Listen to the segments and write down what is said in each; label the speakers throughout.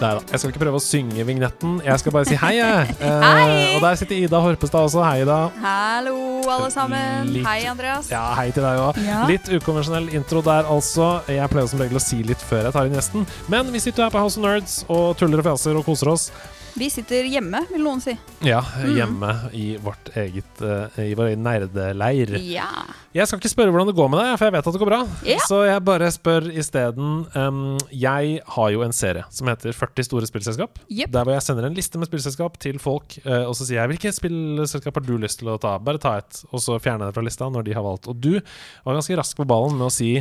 Speaker 1: Nei da. Jeg skal ikke prøve å synge vignetten. Jeg skal bare si hei, jeg. Eh,
Speaker 2: Hei!
Speaker 1: og der sitter Ida Horpestad også. Hei, Ida.
Speaker 2: Hallo, alle sammen.
Speaker 1: Litt-
Speaker 2: Hei, Andreas.
Speaker 1: Ja, hei til deg òg.
Speaker 2: Ja.
Speaker 1: Litt ukonvensjonell intro der, altså. Jeg pleier som regel å si litt før jeg tar inn gjesten. Men vi sitter jo her på House of Nerds og tuller og fjaser og koser oss.
Speaker 2: Vi sitter hjemme, vil noen si.
Speaker 1: Ja,
Speaker 2: Mm.
Speaker 1: hjemme i vårt eget eh, I vår egen nerdeleir.
Speaker 2: Ja.
Speaker 1: Jeg skal ikke spørre hvordan det går med deg, for jeg vet at det går bra.
Speaker 2: Ja.
Speaker 1: Så jeg bare spør isteden um, Jeg har jo en serie som heter 40 store spillselskap.
Speaker 2: Jepp.
Speaker 1: Der hvor jeg sender en liste med spillselskap til folk, eh, og så sier jeg hvilket spillselskap har du lyst til å ta? Bare ta et, og så fjerner jeg det fra lista når de har valgt. Og du var ganske rask på ballen med å si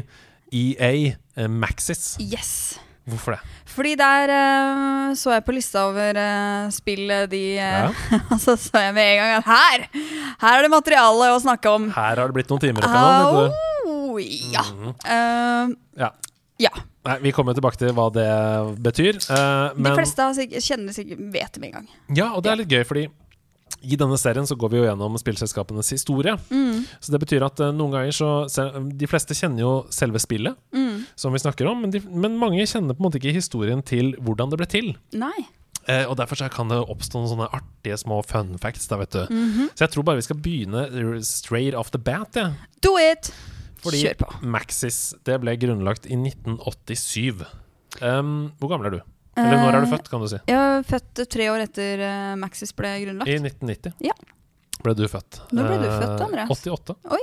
Speaker 1: EA eh, Maxis.
Speaker 2: Yes.
Speaker 1: Hvorfor det?
Speaker 2: Fordi der eh, så jeg på lista over eh, spill eh, de eh, Og så så jeg med en gang at her! Her er det materiale å snakke om.
Speaker 1: Her har det blitt noen timer i kanalen. vet du. Mhm.
Speaker 2: Au! Ja. Eh,
Speaker 1: Ja.
Speaker 2: ja.
Speaker 1: Nei, vi kommer tilbake til hva det betyr. eh,
Speaker 2: De
Speaker 1: men-
Speaker 2: fleste har sikk- kjenner sikkert vet det med en gang.
Speaker 1: Ja, og det er litt gøy, fordi i denne serien så går vi jo gjennom spillselskapenes historie.
Speaker 2: Mm.
Speaker 1: Så det betyr at eh, noen ganger så se- De fleste kjenner jo selve spillet,
Speaker 2: Mm.
Speaker 1: som vi snakker om, men, de, men mange kjenner på en måte ikke historien til hvordan det ble til.
Speaker 2: Nei.
Speaker 1: Eh, og derfor så kan det oppstå noen sånne artige små fun facts, da, vet du.
Speaker 2: Mhm.
Speaker 1: Så jeg tror bare vi skal begynne eh, straight off the bat, jeg.
Speaker 2: Do it!
Speaker 1: Fordi
Speaker 2: Kjør på.
Speaker 1: Maxis det ble grunnlagt i 1987. Um, hvor gammel er du? Eller når er du
Speaker 2: Eh,
Speaker 1: født, kan du si?
Speaker 2: Jeg er født tre år etter eh, Maxis ble grunnlagt.
Speaker 1: I 1990
Speaker 2: Ja.
Speaker 1: ble du født.
Speaker 2: Når ble du
Speaker 1: Eh,
Speaker 2: født, Andreas?
Speaker 1: 88.
Speaker 2: Oi.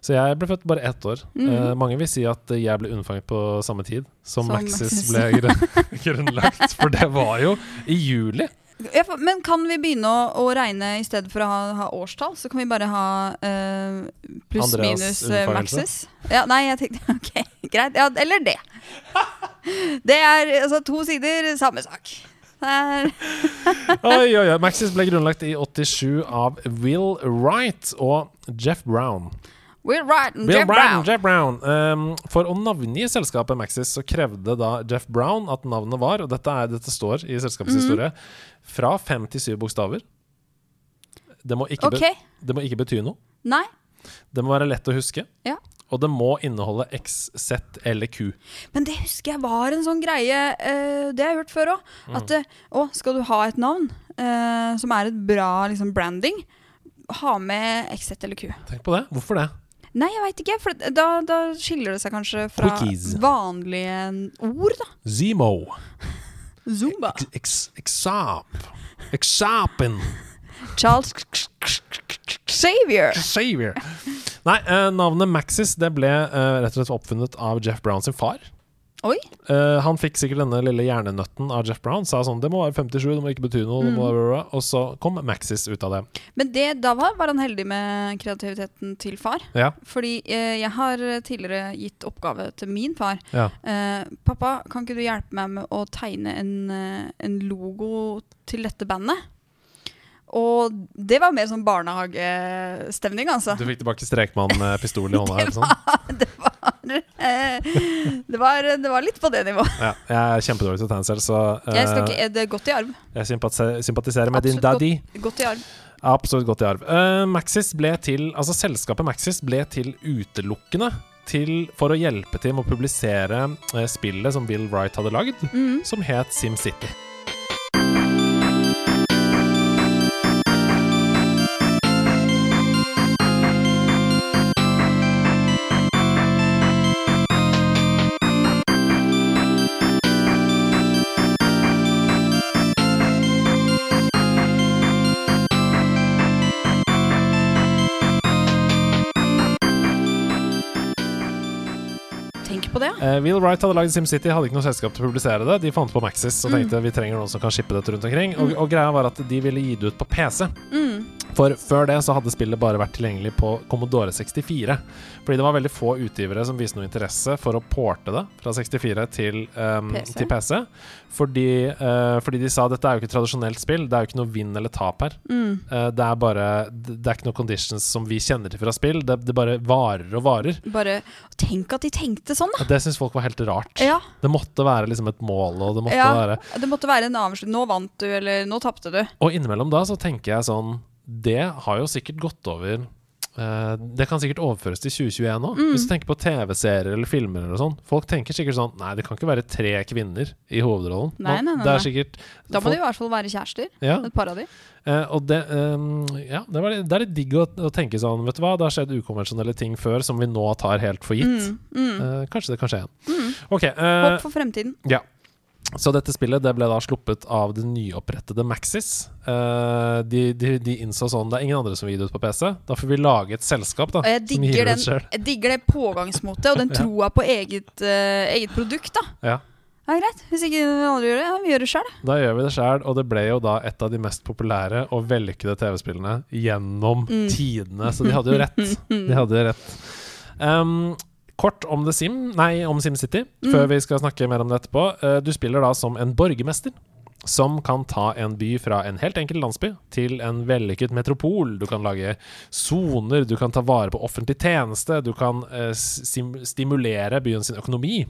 Speaker 1: Så jeg ble født bare ett år.
Speaker 2: Mhm.
Speaker 1: Eh, mange vil si at jeg ble unnfanget på samme tid som,
Speaker 2: Som
Speaker 1: Maxis
Speaker 2: Maxis.
Speaker 1: ble grunn- grunnlagt, for det var jo i juli.
Speaker 2: Ja, for- men kan vi begynne å, å regne i stedet for å ha, ha årstall? Så kan vi bare ha eh, pluss
Speaker 1: Andreas
Speaker 2: minus eh,
Speaker 1: unnfangelse.
Speaker 2: maxis? Ja, nei, jeg tenkte Ok, greit. Ja, eller det. Det er altså to sider, samme sak. Det er
Speaker 1: Oi, oi, oi. Maxis ble grunnlagt i 87 av Will Wright og Jeff Brown.
Speaker 2: Will Wright and
Speaker 1: Will
Speaker 2: Jeff
Speaker 1: Wright
Speaker 2: Brown.
Speaker 1: and Jeff Brown. Um, for å navngi selskapet Maxis, så krevde da Jeff Brown at navnet var, og dette, er, dette står i selskapets
Speaker 2: Mhm.
Speaker 1: historie, fra fem til syv bokstaver. Det må ikke,
Speaker 2: Ok.
Speaker 1: be det må ikke bety noe.
Speaker 2: Nei.
Speaker 1: Det må være lett å huske.
Speaker 2: Ja.
Speaker 1: Og det må inneholde X, Z eller Q.
Speaker 2: Men det husker jeg var en sånn greie eh, Det har jeg hørt før òg.
Speaker 1: Mm.
Speaker 2: At eh, å, skal du ha et navn eh, som er et bra liksom, branding, ha med XZ eller Q.
Speaker 1: Tenk på det. Hvorfor det?
Speaker 2: Nei, jeg veit ikke. For da, da skiller det seg kanskje fra
Speaker 1: Quickies.
Speaker 2: vanlige ord, da.
Speaker 1: Zemo.
Speaker 2: Zumba.
Speaker 1: Exap. Exapen.
Speaker 2: Charles Xavier.
Speaker 1: Savior. Nei, eh, navnet Maxis det ble eh, rett og slett oppfunnet av Jeff Brown sin far.
Speaker 2: Oi.
Speaker 1: Eh, han fikk sikkert denne lille hjernenøtten av Jeff Brown. Sa sånn Det må være 57, det må ikke bety noe. det må være bra», Og så kom Maxis ut av det.
Speaker 2: Men det da var, var han heldig med kreativiteten til far.
Speaker 1: Ja,
Speaker 2: Fordi eh, jeg har tidligere gitt oppgave til min far.
Speaker 1: ja.
Speaker 2: Eh, pappa, kan ikke du hjelpe meg med å tegne en, eh, en logo til dette bandet? Og det var mer sånn barnehagestemning, altså.
Speaker 1: Du fikk tilbake strekmannpistol i hånda? her, sånn.
Speaker 2: Det var, eh, det var, det var litt på det nivået.
Speaker 1: ja, jeg er kjempedårlig til å tegne selv, så eh,
Speaker 2: Jeg skal ikke, det er godt i arv.
Speaker 1: Jeg sympatise- sympatiserer med din
Speaker 2: Absolutt
Speaker 1: daddy.
Speaker 2: Godt i arv.
Speaker 1: Absolutt godt i arv. Eh, Maxis ble til, altså Selskapet Maxis ble til utelukkende til, for å hjelpe til med å publisere eh, spillet som Bill Wright hadde lagd,
Speaker 2: Mm.
Speaker 1: som het SimCity.
Speaker 2: Tenk på det. ja.
Speaker 1: Eh, Will Wright hadde lagd SimCity, hadde ikke noe selskap til å publisere det. De fant på
Speaker 2: Mm.
Speaker 1: Maxis og tenkte vi trenger noen som kan shippe dette rundt omkring. Og, og greia var at de ville gi det ut på PC.
Speaker 2: Mm.
Speaker 1: For før det så hadde spillet bare vært tilgjengelig på Commodore 64. Fordi det var veldig få utgivere som viste noe interesse for å porte det fra 64 til, ehm,
Speaker 2: PC?
Speaker 1: til PC. Fordi, eh, fordi de sa dette er jo ikke et tradisjonelt spill, det er jo ikke noe vinn eller tap her.
Speaker 2: Mm.
Speaker 1: Eh, det er bare Det er ikke noe conditions som vi kjenner til fra spill, det, det bare varer og varer.
Speaker 2: Bare Tenk at de tenkte sånn, da!
Speaker 1: Og Det syns folk var helt rart.
Speaker 2: Ja,
Speaker 1: Det måtte være liksom et mål, og det måtte
Speaker 2: ja.
Speaker 1: være
Speaker 2: Det måtte være en avslutning. Nå vant du, eller nå tapte du.
Speaker 1: Og innimellom da så tenker jeg sånn Det har jo sikkert gått over eh, Det kan sikkert overføres til 2021 òg.
Speaker 2: Mm.
Speaker 1: Hvis du tenker på TV-serier eller filmer eller sånn. Folk tenker sikkert sånn Nei, det kan ikke være tre kvinner i hovedrollen.
Speaker 2: Nei, nei, nei,
Speaker 1: det
Speaker 2: nei.
Speaker 1: er sikkert
Speaker 2: Da må de
Speaker 1: folk,
Speaker 2: i hvert fall være kjærester.
Speaker 1: ja,
Speaker 2: Et par av de.
Speaker 1: eh, og det, eh, ja, det, var, litt- det er litt digg å, å tenke sånn Vet du hva, det har skjedd ukonvensjonelle ting før som vi nå tar helt for gitt.
Speaker 2: Mm. Mm.
Speaker 1: Eh, kanskje det kan skje igjen.
Speaker 2: Mm.
Speaker 1: Ok, eh,
Speaker 2: Håp for fremtiden.
Speaker 1: Så dette spillet det ble da sluppet av det nyopprettede Maxis. Eh, de, de, de innså sånn Det er ingen andre som vil gi det ut på PC. Da får vi lage et selskap da
Speaker 2: Og jeg
Speaker 1: som gir
Speaker 2: digger,
Speaker 1: det
Speaker 2: den,
Speaker 1: ut selv.
Speaker 2: jeg digger det pågangsmotet og den troa på eget, eh, eget produkt. da
Speaker 1: Ja,
Speaker 2: Ja, greit. Hvis ikke noen andre gjør det, ja, vi gjør det sjøl.
Speaker 1: da gjør vi det sjæl, og det ble jo da et av de mest populære og vellykkede TV-spillene gjennom
Speaker 2: Mm.
Speaker 1: tidene, så de hadde jo rett. De hadde jo rett. Em, kort om The Sim, nei, om SimCity, før vi skal snakke mer om det etterpå. Eh, du spiller da som en borgermester. Som kan ta en by fra en helt enkel landsby til en vellykket metropol. Du kan lage soner, du kan ta vare på offentlig tjeneste, du kan eh, sim stimulere byen sin økonomi.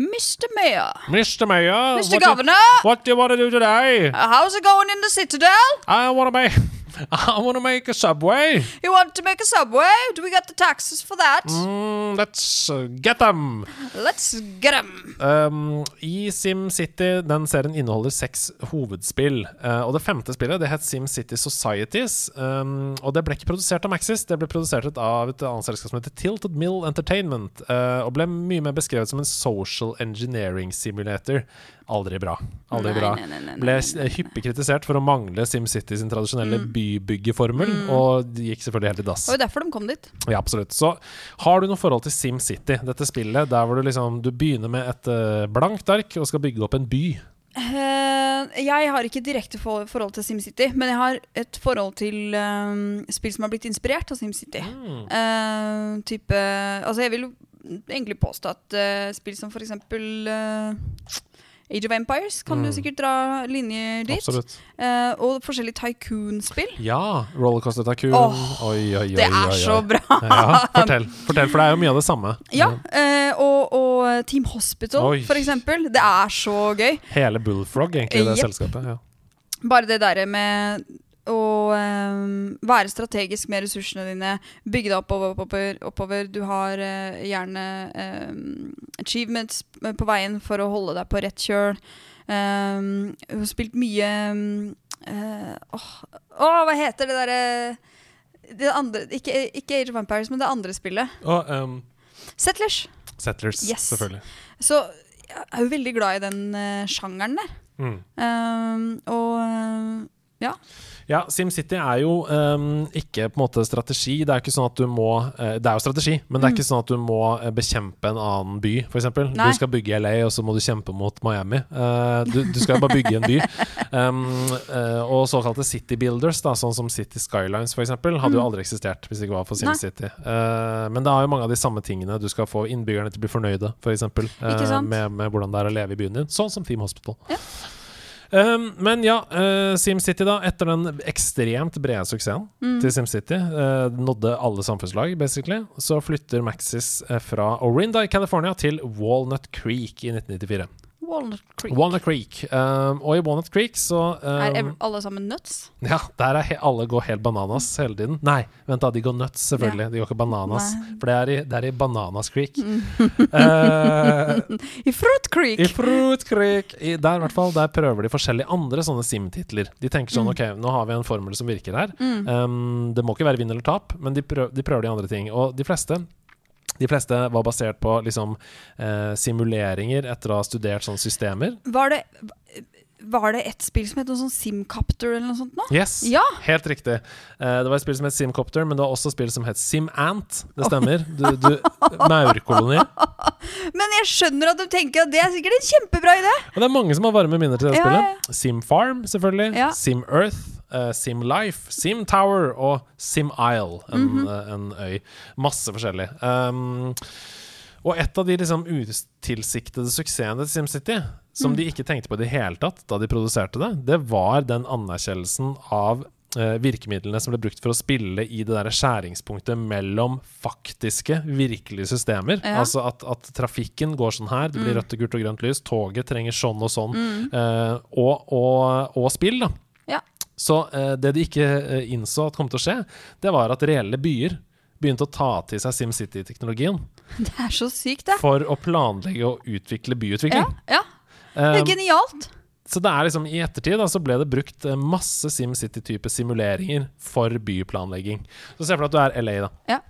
Speaker 2: Mr. Mayor,
Speaker 1: Mr. Mayor, what
Speaker 2: Mr.
Speaker 1: do-
Speaker 2: Governor,
Speaker 1: what do you want to do today?
Speaker 2: how's it going in the citadel?
Speaker 1: I wanna make I wanna make a subway.
Speaker 2: You want to make a subway? Do we got the taxes for that?
Speaker 1: Mm, let's uh, get them.
Speaker 2: Let's get them.
Speaker 1: Um, I SimCity, den serien inneholder seks hovedspill. Eh, og det femte spillet det het SimCity Societies. Um, og det ble ikke produsert av Maxis, det ble produsert av et annet selskap som heter Tilted Mill Entertainment. eh, og ble mye mer beskrevet som en social engineering simulator. Aldri bra. Aldri
Speaker 2: Nei,
Speaker 1: bra.
Speaker 2: nei, nei, nei, nei,
Speaker 1: ble
Speaker 2: nei, Mm.
Speaker 1: s- hyppig kritisert for å mangle SimCity sin tradisjonelle bybyggeformel, og det gikk selvfølgelig helt i dass.
Speaker 2: Det var jo derfor de kom dit.
Speaker 1: Ja, absolutt. Så har du noe forhold til SimCity, dette spillet der hvor du liksom Du begynner med et eh, blankt ark og skal bygge opp en by.
Speaker 2: Eh, jeg har ikke direkte for forhold til SimCity, men jeg har et forhold til eh, spill som har blitt inspirert av SimCity. Eh, type Altså, jeg vil jo egentlig påstå at eh, spill som for eksempel eh, Age of Empires kan du
Speaker 1: Mm.
Speaker 2: sikkert dra linjer dit.
Speaker 1: Absolutt.
Speaker 2: Eh, og forskjellige tycoon-spill.
Speaker 1: Ja. Rollercoaster Tycoon.
Speaker 2: Åh,
Speaker 1: oi, oi, oi.
Speaker 2: Det
Speaker 1: oi,
Speaker 2: er
Speaker 1: oi.
Speaker 2: så bra!
Speaker 1: Ja, fortell, fortell, for det er jo mye av det samme.
Speaker 2: Ja, eh, og, og Team Hospital,
Speaker 1: Oi.
Speaker 2: for eksempel. Det er så gøy.
Speaker 1: Hele Bullfrog, egentlig, det
Speaker 2: Jepp.
Speaker 1: selskapet. Ja.
Speaker 2: Bare det derre med å eh, være strategisk med ressursene dine, bygge deg oppover, oppover, oppover. Du har eh, gjerne eh, achievements på veien for å holde deg på rett kjøl. Um, hun har spilt mye eh, Åh, åh, hva heter det derre det andre, ikke, ikke Age of Vampires, men det andre spillet.
Speaker 1: Og ehm,
Speaker 2: Settlers.
Speaker 1: Settlers,
Speaker 2: Yes.
Speaker 1: selvfølgelig.
Speaker 2: Så jeg er jo veldig glad i den eh, sjangeren der.
Speaker 1: Mm.
Speaker 2: Um, og eh,
Speaker 1: Ja, SimCity er jo ehm, ikke på en måte strategi. Det er ikke sånn at du må eh, Det er jo strategi, men det er ikke sånn at du må eh, bekjempe en annen by, f.eks.
Speaker 2: Mm. Nei.
Speaker 1: Du skal bygge LA, og så må du kjempe mot Miami. Eh, du, du skal jo bare bygge en by. Ehm, eh, og såkalte city builders, da, sånn som City Skylines f.eks., hadde jo aldri eksistert hvis det ikke var for
Speaker 2: Mm. Nei.
Speaker 1: SimCity. Eh, men det har jo mange av de samme tingene. Du skal få innbyggerne til å bli fornøyde, f.eks. For
Speaker 2: Ikke
Speaker 1: uh,
Speaker 2: sant?
Speaker 1: med, med hvordan det er å leve i byen din. Sånn som Team Hospital.
Speaker 2: Ja.
Speaker 1: Um, men ja, eh, SimCity, da. Etter den ekstremt brede suksessen
Speaker 2: Mm.
Speaker 1: til SimCity, eh, nådde alle samfunnslag, basically, så flytter Maxis eh, fra Orinda i California til Walnut Creek i 1994.
Speaker 2: Walnut Creek.
Speaker 1: Walnut Creek. Um, og i Walnut Creek så
Speaker 2: Er
Speaker 1: um,
Speaker 2: ev- alle sammen nuts?
Speaker 1: Ja, der er he alle går helt bananas hele tiden. Nei, vent da, de går nuts, selvfølgelig. De går ikke bananas.
Speaker 2: Nei.
Speaker 1: For det er i, det er i Bananas Creek. Eh,
Speaker 2: Mm. I Fruit Creek!
Speaker 1: I Fruit Creek I, Der i hvert fall, der prøver de forskjellige andre sånne SIM-titler. De tenker sånn ok, nå har vi en formel som virker her.
Speaker 2: Mm.
Speaker 1: Um, det må ikke være vinn eller tap, men de prøver, de prøver de andre ting. Og de fleste de fleste var basert på liksom, eh, simuleringer etter å ha studert sånne systemer.
Speaker 2: Var det, var det et spill som het noe sånn Simcopter eller noe sånt nå?
Speaker 1: Yes,
Speaker 2: Ja.
Speaker 1: helt riktig. Eh, det var et spill som het Simcopter, men det var også et spill som het SimAnt. Det stemmer. Du, du, Maurkoloni.
Speaker 2: Men jeg skjønner at du tenker at det er sikkert en kjempebra idé!
Speaker 1: Og det er mange som har varme minner til det
Speaker 2: Ja,
Speaker 1: spillet. Sim Farm, selvfølgelig.
Speaker 2: Ja.
Speaker 1: Sim Earth. eh, Sim Life, Sim Tower og Sim Isle, en,
Speaker 2: Mhm.
Speaker 1: eh, en øy. Masse forskjellig. Um, og et av de liksom utilsiktede suksessene til SimCity, som de ikke tenkte på i det hele tatt da de produserte det, det var den anerkjennelsen av eh, virkemidlene som ble brukt for å spille i det der skjæringspunktet mellom faktiske, virkelige systemer.
Speaker 2: Ja.
Speaker 1: Altså at, at trafikken går sånn her, det blir rødt og gult og grønt lys, toget trenger sånn og sånn, eh, og, og, og spill, da.
Speaker 2: Ja.
Speaker 1: Så eh, det de ikke eh, innså at kom til å skje, det var at reelle byer begynte å ta til seg SimCity-teknologien
Speaker 2: Det er så sykt, det.
Speaker 1: for å planlegge og utvikle
Speaker 2: Ja,
Speaker 1: byutvikling.
Speaker 2: ja. Det
Speaker 1: Eh,
Speaker 2: er genialt.
Speaker 1: så det er liksom i ettertid da, så ble det brukt eh, masse SimCity-type simuleringer for byplanlegging. Så se for deg at du er LA, da.
Speaker 2: Ja.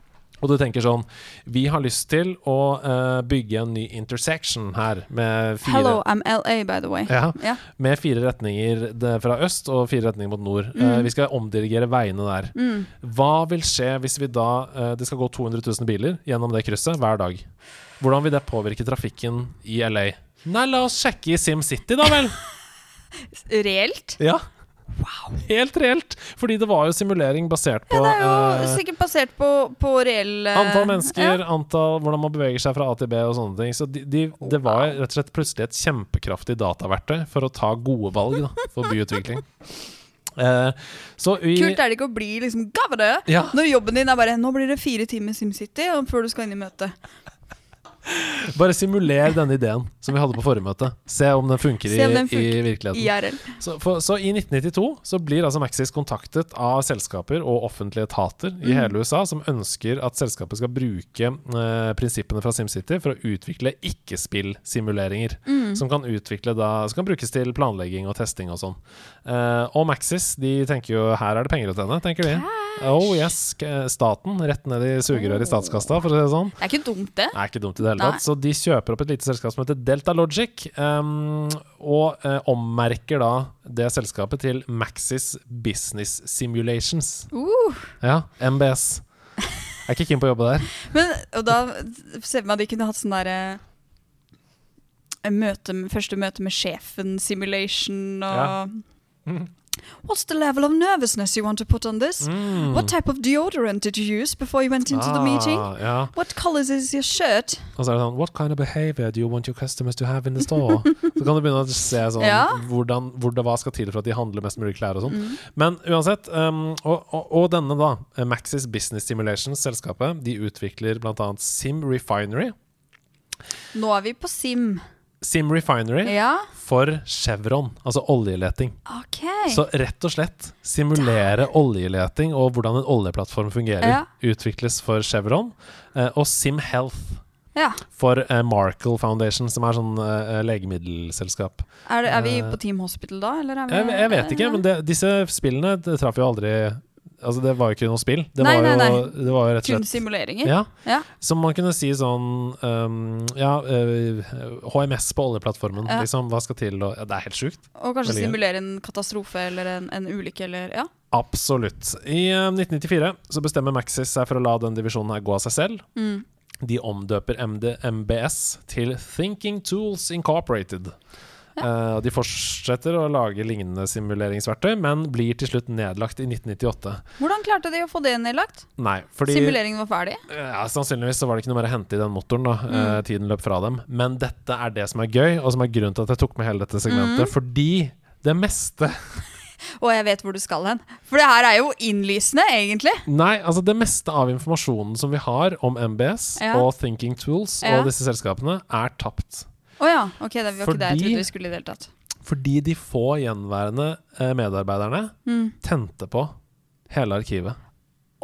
Speaker 1: Og du tenker sånn Vi har lyst til å eh, bygge en ny intersection her med fire
Speaker 2: Hello, I'm LA, by the way.
Speaker 1: Ja,
Speaker 2: Ja.
Speaker 1: med fire retninger det- fra øst og fire retninger mot nord.
Speaker 2: Mm.
Speaker 1: Eh, vi skal omdirigere veiene der. Hva vil skje hvis vi da eh, Det skal gå 200 000 biler gjennom det krysset hver dag. Hvordan vil det påvirke trafikken i LA? Nei, la oss sjekke i SimCity, da vel!
Speaker 2: Reelt?
Speaker 1: Ja. Helt reelt! Fordi det var jo simulering basert på
Speaker 2: Det er jo
Speaker 1: eh,
Speaker 2: sikkert basert på, på reell eh,
Speaker 1: Antall
Speaker 2: ja.
Speaker 1: mennesker, antall, hvordan man beveger seg fra A til B og sånne ting. Så de, de, det var rett og slett plutselig et kjempekraftig dataverktøy for å ta gode valg da, for byutvikling. Eh, så i,
Speaker 2: Kult er det ikke å bli liksom gavre
Speaker 1: Ja.
Speaker 2: når jobben din er bare Nå blir det fire timer SimCity og før du skal inn i møte.
Speaker 1: bare simuler denne ideen som vi hadde på forrige møte. Se om den funker,
Speaker 2: Se om
Speaker 1: i,
Speaker 2: den
Speaker 1: i
Speaker 2: funker.
Speaker 1: virkeligheten.
Speaker 2: IRL.
Speaker 1: Så, for, så i 1992 så blir altså Maxis kontaktet av selskaper og offentlige etater
Speaker 2: Mm.
Speaker 1: i hele USA som ønsker at selskapet skal bruke eh, prinsippene fra SimCity for å utvikle ikke-spill-simuleringer.
Speaker 2: Mm.
Speaker 1: Som, kan utvikle da, som kan brukes til planlegging og testing og sånn. Eh, og Maxis de tenker jo her er det penger å tjene, tenker de. Oh yes, k- staten rett ned i sugerøret i statskassa, for å si det sånn.
Speaker 2: Det er ikke dumt, det.
Speaker 1: Det er ikke dumt i det hele
Speaker 2: Nei.
Speaker 1: tatt. Så de kjøper opp et lite selskap som heter Delta Logic, ehm, og eh, ommerker da det selskapet til Maxis Business Simulations.
Speaker 2: Uh.
Speaker 1: Ja, MBS. Jeg er ikke keen på å jobbe der.
Speaker 2: Men, og da ser vi meg at de kunne hatt sånn derre eh, Møte, med- første møte med sjefen, simulation og
Speaker 1: Ja. Mm.
Speaker 2: What's the level of nervousness you want to put on this?
Speaker 1: Mm.
Speaker 2: What type of deodorant did you use before you went into the meeting?
Speaker 1: Ah, ja.
Speaker 2: What colors is your shirt?
Speaker 1: Og så er det sånn What kind of behavior do you want your customers to have in the store? så kan du begynne å se sånn
Speaker 2: Ja. Mm.
Speaker 1: hvordan, hvordan, hva skal til for at de handler mest mulig klær og sånn. Men uansett, um, og, og, og denne da, eh, Maxis Business Simulations-selskapet, de utvikler bl.a. Sim Refinery.
Speaker 2: Nå er vi på Sim.
Speaker 1: Sim Refinery
Speaker 2: Ja,
Speaker 1: for Chevron, altså oljeleting.
Speaker 2: OK.
Speaker 1: Så rett og slett simulere oljeleting og hvordan en oljeplattform fungerer,
Speaker 2: Ja.
Speaker 1: utvikles for Chevron. Eh, og Sim Health
Speaker 2: ja.
Speaker 1: for eh, Markle Foundation, som er sånn eh, legemiddelselskap.
Speaker 2: Er, det, er vi
Speaker 1: Eh,
Speaker 2: på Team Hospital da, eller er vi
Speaker 1: Jeg, jeg vet ikke, men det, disse spillene det traff jo aldri Altså, det var jo ikke noe spill. Det
Speaker 2: Nei,
Speaker 1: var jo,
Speaker 2: nei,
Speaker 1: Det var jo rett og slett
Speaker 2: Kun simuleringer?
Speaker 1: Ja.
Speaker 2: Ja.
Speaker 1: Som man kunne si sånn um, Ja, eh, HMS på oljeplattformen,
Speaker 2: Ja.
Speaker 1: liksom. Hva skal til? Og, ja, det er helt sjukt.
Speaker 2: Og kanskje
Speaker 1: Veldig gøy.
Speaker 2: simulere en katastrofe eller en, en ulykke eller Ja.
Speaker 1: Absolutt. I eh, 1994 så bestemmer Maxis seg for å la den divisjonen her gå av seg selv.
Speaker 2: Mm.
Speaker 1: De omdøper MD, MBS til Thinking Tools Incorporated. Eh, og de fortsetter å lage lignende simuleringsverktøy, men blir til slutt nedlagt i 1998.
Speaker 2: Hvordan klarte de å få det nedlagt?
Speaker 1: Nei, fordi eh,
Speaker 2: Simuleringen var ferdig?
Speaker 1: Ja, Sannsynligvis så var det ikke noe mer å hente i den motoren. da Eh, Tiden løp fra dem. Men dette er det som er gøy, og som er grunnen til at jeg tok med hele dette segmentet. Fordi det meste
Speaker 2: Og jeg vet hvor du skal hen. For det her er jo innlysende, egentlig.
Speaker 1: Nei, altså det meste av informasjonen som vi har om MBS
Speaker 2: Ja.
Speaker 1: og Thinking Tools
Speaker 2: Ja.
Speaker 1: og disse selskapene, er tapt.
Speaker 2: Å ja. Ok, det var ikke det jeg
Speaker 1: Fordi-
Speaker 2: trodde vi skulle i det hele tatt.
Speaker 1: Fordi de få gjenværende eh, medarbeiderne
Speaker 2: Mm.
Speaker 1: tente på hele arkivet.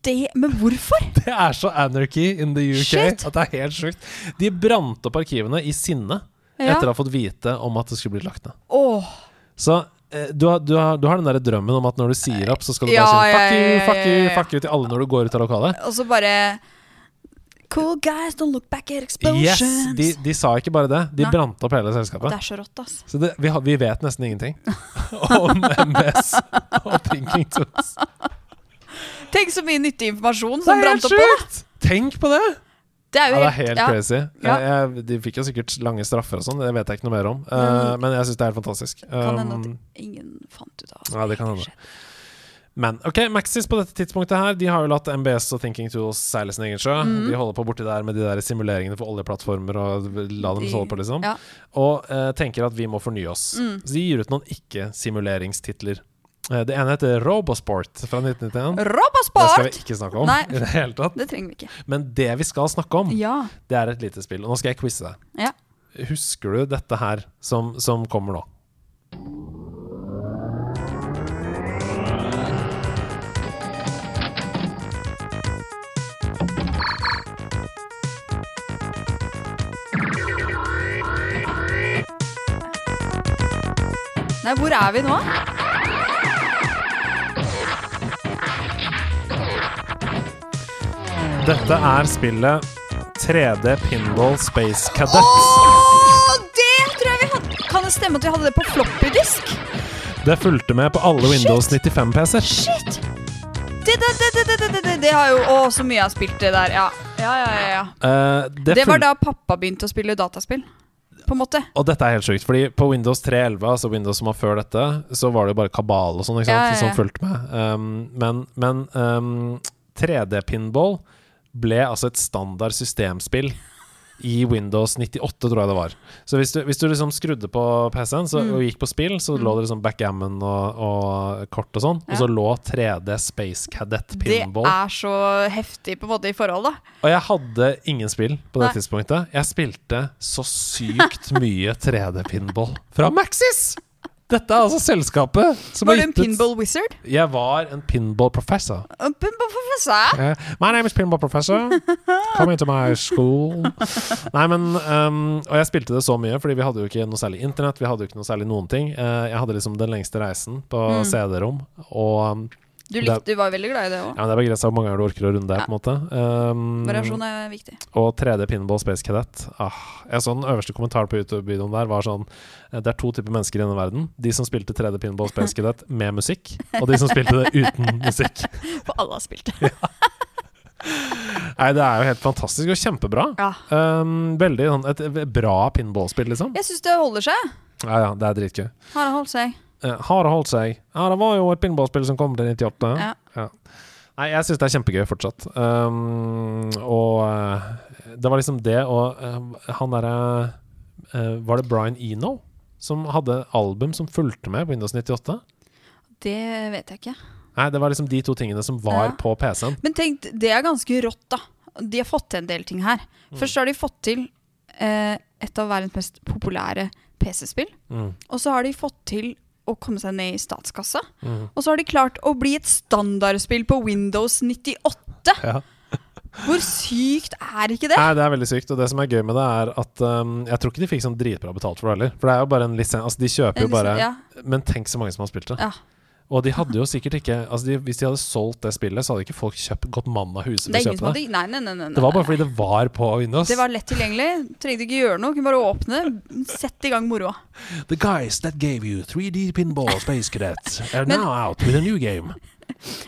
Speaker 2: Det, men hvorfor?
Speaker 1: Det er så anarchy in the UK
Speaker 2: Shit.
Speaker 1: at det er helt sjukt. De brant opp arkivene i sinne
Speaker 2: Ja.
Speaker 1: etter å ha fått vite om at det skulle bli lagt ned.
Speaker 2: Åh,
Speaker 1: Så eh, du har, du, har, du har den der drømmen om at når du sier opp, så skal du
Speaker 2: Ja,
Speaker 1: bare si
Speaker 2: ja,
Speaker 1: fuck
Speaker 2: ja,
Speaker 1: you,
Speaker 2: ja,
Speaker 1: fuck
Speaker 2: ja,
Speaker 1: you,
Speaker 2: ja.
Speaker 1: fuck you til alle når du går ut av lokalet.
Speaker 2: Og så bare Cool guys, don't look back at explosions.
Speaker 1: Yes, de, de sa ikke bare det, de
Speaker 2: Nei.
Speaker 1: brant opp hele
Speaker 2: Det
Speaker 1: selskapet.
Speaker 2: er så rått, ass.
Speaker 1: Så det, vi, har, vi vet nesten ingenting om MS og Thinking Tools.
Speaker 2: Tenk så mye nyttig informasjon
Speaker 1: Det
Speaker 2: som
Speaker 1: er
Speaker 2: brant
Speaker 1: helt
Speaker 2: opp på det.
Speaker 1: sjukt! Tenk på det!
Speaker 2: Det er
Speaker 1: Ja,
Speaker 2: jo
Speaker 1: det er helt
Speaker 2: ja.
Speaker 1: crazy.
Speaker 2: Ja.
Speaker 1: Jeg, jeg, de fikk jo sikkert lange straffer og sånn, det vet jeg ikke noe mer om. Eh,
Speaker 2: Mm.
Speaker 1: men jeg syns det er helt fantastisk.
Speaker 2: Kan hende
Speaker 1: Um,
Speaker 2: at ingen fant ut av altså.
Speaker 1: Ja, det kan hende. Men ok, Maxis på dette tidspunktet her De har jo latt MBS og Thinking Tools seile sin egen sjø.
Speaker 2: Mhm.
Speaker 1: De holder på borti der med de der simuleringene for oljeplattformer og la dem
Speaker 2: De-
Speaker 1: holde på, liksom.
Speaker 2: ja.
Speaker 1: Og eh, tenker at vi må fornye oss.
Speaker 2: Mm.
Speaker 1: Så de gir ut noen ikke-simuleringstitler. Eh, det ene heter Robosport fra 1991. Det skal
Speaker 2: Robosport!
Speaker 1: vi ikke snakke om
Speaker 2: Nei.
Speaker 1: i det hele tatt.
Speaker 2: Det trenger vi ikke.
Speaker 1: Men det vi skal snakke om,
Speaker 2: Ja.
Speaker 1: det er et lite spill. Og nå skal jeg quize deg.
Speaker 2: Ja.
Speaker 1: Husker du dette her som, som kommer nå?
Speaker 2: Nei, hvor er vi nå?
Speaker 1: Dette er spillet 3D Pinball Space Cadets.
Speaker 2: Åh, det tror jeg vi hadde Kan det stemme at vi hadde det på floppydisk?
Speaker 1: Det fulgte med på alle Windows 95-PC-er.
Speaker 2: Shit! Det, det, det, det, det, det, det, det, det har jo Å, så mye jeg har spilt det der. Ja, ja, ja. ja, ja.
Speaker 1: Eh, det
Speaker 2: Det var
Speaker 1: fulg-
Speaker 2: da pappa begynte å spille dataspill. På en måte.
Speaker 1: Og dette er helt sjukt, fordi på Windows 3.11, altså Windows som var før dette, så var det jo bare kabal og sånn, ikke sant,
Speaker 2: Ja, ja, ja.
Speaker 1: som fulgte med. Um, men men um, 3D-pinball ble altså et standard systemspill i Windows 98, tror jeg det var. Så hvis du, hvis du liksom skrudde på PC-en
Speaker 2: Mm.
Speaker 1: så, og gikk på spill, så lå det liksom backgammon og, og kort og sånn, og så lå 3D Space Cadet
Speaker 2: Det
Speaker 1: Pinball.
Speaker 2: er så heftig på en måte i forhold, da.
Speaker 1: Og jeg hadde ingen spill på det
Speaker 2: Nei.
Speaker 1: tidspunktet. Jeg spilte så sykt mye 3D-pinball fra Maxis! Dette er altså selskapet som
Speaker 2: Var du
Speaker 1: har
Speaker 2: en
Speaker 1: gitt ut-
Speaker 2: pinball wizard?
Speaker 1: Jeg var en pinball professor.
Speaker 2: En Pinball professor?
Speaker 1: Eh, my name is pinball professor. Come into my school. Nei, men ehm, Og jeg spilte det så mye, fordi vi hadde jo ikke noe særlig internett. Vi hadde jo ikke noe særlig noen ting. Eh, jeg hadde liksom den lengste reisen på
Speaker 2: Mm.
Speaker 1: CD-rom. Og ehm,
Speaker 2: Du, likte, du var veldig glad i det òg.
Speaker 1: ja, men det er begrensa hvor mange ganger du orker å runde det,
Speaker 2: Ja.
Speaker 1: på en måte. Ehm,
Speaker 2: Variasjon er viktig.
Speaker 1: Og 3D Pinball Space Cadet. Ah, jeg så den øverste kommentaren på YouTube-videoen der var sånn eh, Det er to typer mennesker i denne verden. De som spilte 3D Pinball Space Cadet med musikk, og de som spilte det uten musikk.
Speaker 2: For alle har spilt det.
Speaker 1: Nei, det er jo helt fantastisk og kjempebra.
Speaker 2: Ja.
Speaker 1: Um, veldig sånn et et bra pinballspill, liksom.
Speaker 2: Jeg syns det holder seg.
Speaker 1: Ja ja, det er dritgøy.
Speaker 2: Har det holdt seg?
Speaker 1: Eh, har det holdt seg? Ja, det var jo et pinballspill som kom til 98.
Speaker 2: Ja.
Speaker 1: Nei, jeg syns det er kjempegøy fortsatt. Um, og eh, det var liksom det, og eh, han derre eh, Var det Brian Eno som hadde album som fulgte med på Windows 98?
Speaker 2: Det vet jeg ikke.
Speaker 1: Nei, det var liksom de to tingene som var
Speaker 2: Ja.
Speaker 1: på PC-en.
Speaker 2: Men tenk, det er ganske rått, da. De har fått til en del ting her. Først har de fått til eh, et av verdens mest populære PC-spill.
Speaker 1: Mm,
Speaker 2: Og så har de fått til å komme seg ned i statskassa.
Speaker 1: mm.
Speaker 2: Og så har de klart å bli et standardspill på Windows 98!
Speaker 1: Ja.
Speaker 2: Hvor sykt er ikke det?
Speaker 1: Nei, det er veldig sykt, og det som er gøy med det, er at um, jeg tror ikke de fikk sånn dritbra betalt for det heller. For det er jo bare en lisens. Altså, de kjøper jo bare
Speaker 2: liksom- ja.
Speaker 1: Men tenk så mange som har spilt det.
Speaker 2: Ja.
Speaker 1: Og de hadde jo sikkert ikke altså de, Hvis de hadde solgt det spillet, så hadde ikke folk kjøpt, gått mann av huset for
Speaker 2: Det er
Speaker 1: å
Speaker 2: ingen som
Speaker 1: kjøpe det.
Speaker 2: hadde Nei, nei, nei. nei, nei.
Speaker 1: Det var bare fordi det var på Windows.
Speaker 2: Det var lett tilgjengelig. Trengte ikke gjøre noe. Kunne bare åpne. Sett i gang moroa.
Speaker 1: The guys that gave you 3D pinball space cadets are
Speaker 2: Men-
Speaker 1: now out with a new game.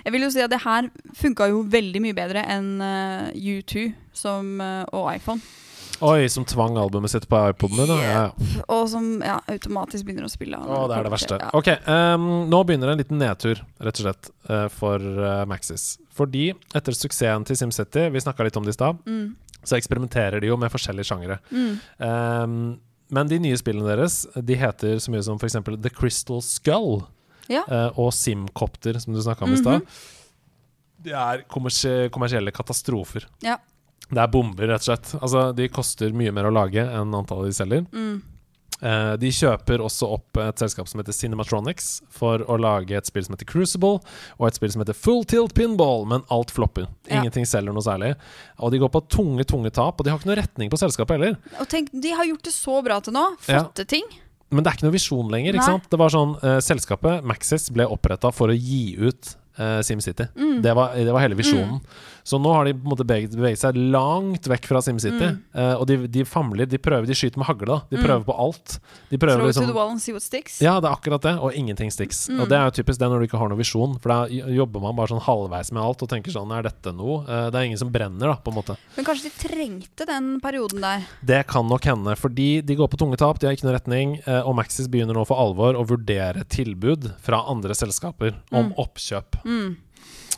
Speaker 2: Jeg vil jo si at det her funka jo veldig mye bedre enn eh, U2 som, eh, og iPhone.
Speaker 1: Oi, som tvang albumet sitt på iPoden din. da. Ja, ja.
Speaker 2: Og som ja, automatisk begynner å spille.
Speaker 1: Å, det er det verste.
Speaker 2: Ja.
Speaker 1: Ok, ehm, nå begynner en liten nedtur, rett og slett, eh, for eh, Maxis. Fordi etter suksessen til SimCity, vi snakka litt om det i stad,
Speaker 2: Mm.
Speaker 1: så eksperimenterer de jo med forskjellige sjangere.
Speaker 2: Mm.
Speaker 1: Ehm, men de nye spillene deres De heter så mye som f.eks. The Crystal Skull
Speaker 2: Ja. Mhm.
Speaker 1: eh, og Simcopter, som du snakka om i stad. Det er kommersie- kommersielle katastrofer.
Speaker 2: Ja.
Speaker 1: Det er bomber, rett og slett. Altså, de koster mye mer å lage enn antallet de selger.
Speaker 2: Mm.
Speaker 1: Eh, de kjøper også opp et selskap som heter Cinematronics, for å lage et spill som heter Crucible, og et spill som heter Full Tilt Pinball, men alt flopper.
Speaker 2: Ja.
Speaker 1: Ingenting selger noe særlig. Og de går på tunge, tunge tap, og de har ikke noe retning på selskapet heller.
Speaker 2: Og tenk, de har gjort det så bra til nå.
Speaker 1: Ja.
Speaker 2: Fått til ting.
Speaker 1: Men det er ikke noe visjon lenger.
Speaker 2: Nei.
Speaker 1: ikke sant? Det var sånn, eh,
Speaker 2: Mm.
Speaker 1: Selskapet Maxis ble oppretta for å gi ut eh, SimCity. Det, var, det var hele visjonen. Så nå har de på en måte beveget, beveget seg langt vekk fra SimCity.
Speaker 2: Mm.
Speaker 1: Eh, og de, de famler, de prøver, de skyter med hagle, da. De prøver på alt. De prøver
Speaker 2: Throw it to
Speaker 1: liksom
Speaker 2: the wall Mm. and see what sticks.
Speaker 1: ja, det er akkurat det, og ingenting sticks. Og det er jo typisk det når du ikke har noen visjon, for da j- jobber man bare sånn halvveis med alt og tenker sånn Er dette noe? Eh, Det er ingen som brenner, da, på en måte.
Speaker 2: Men kanskje de trengte den perioden der.
Speaker 1: Det kan nok hende, fordi de går på tunge tap, de har ikke noen retning, eh, og Maxis begynner nå for alvor å vurdere tilbud fra andre selskaper om oppkjøp.
Speaker 2: Mm.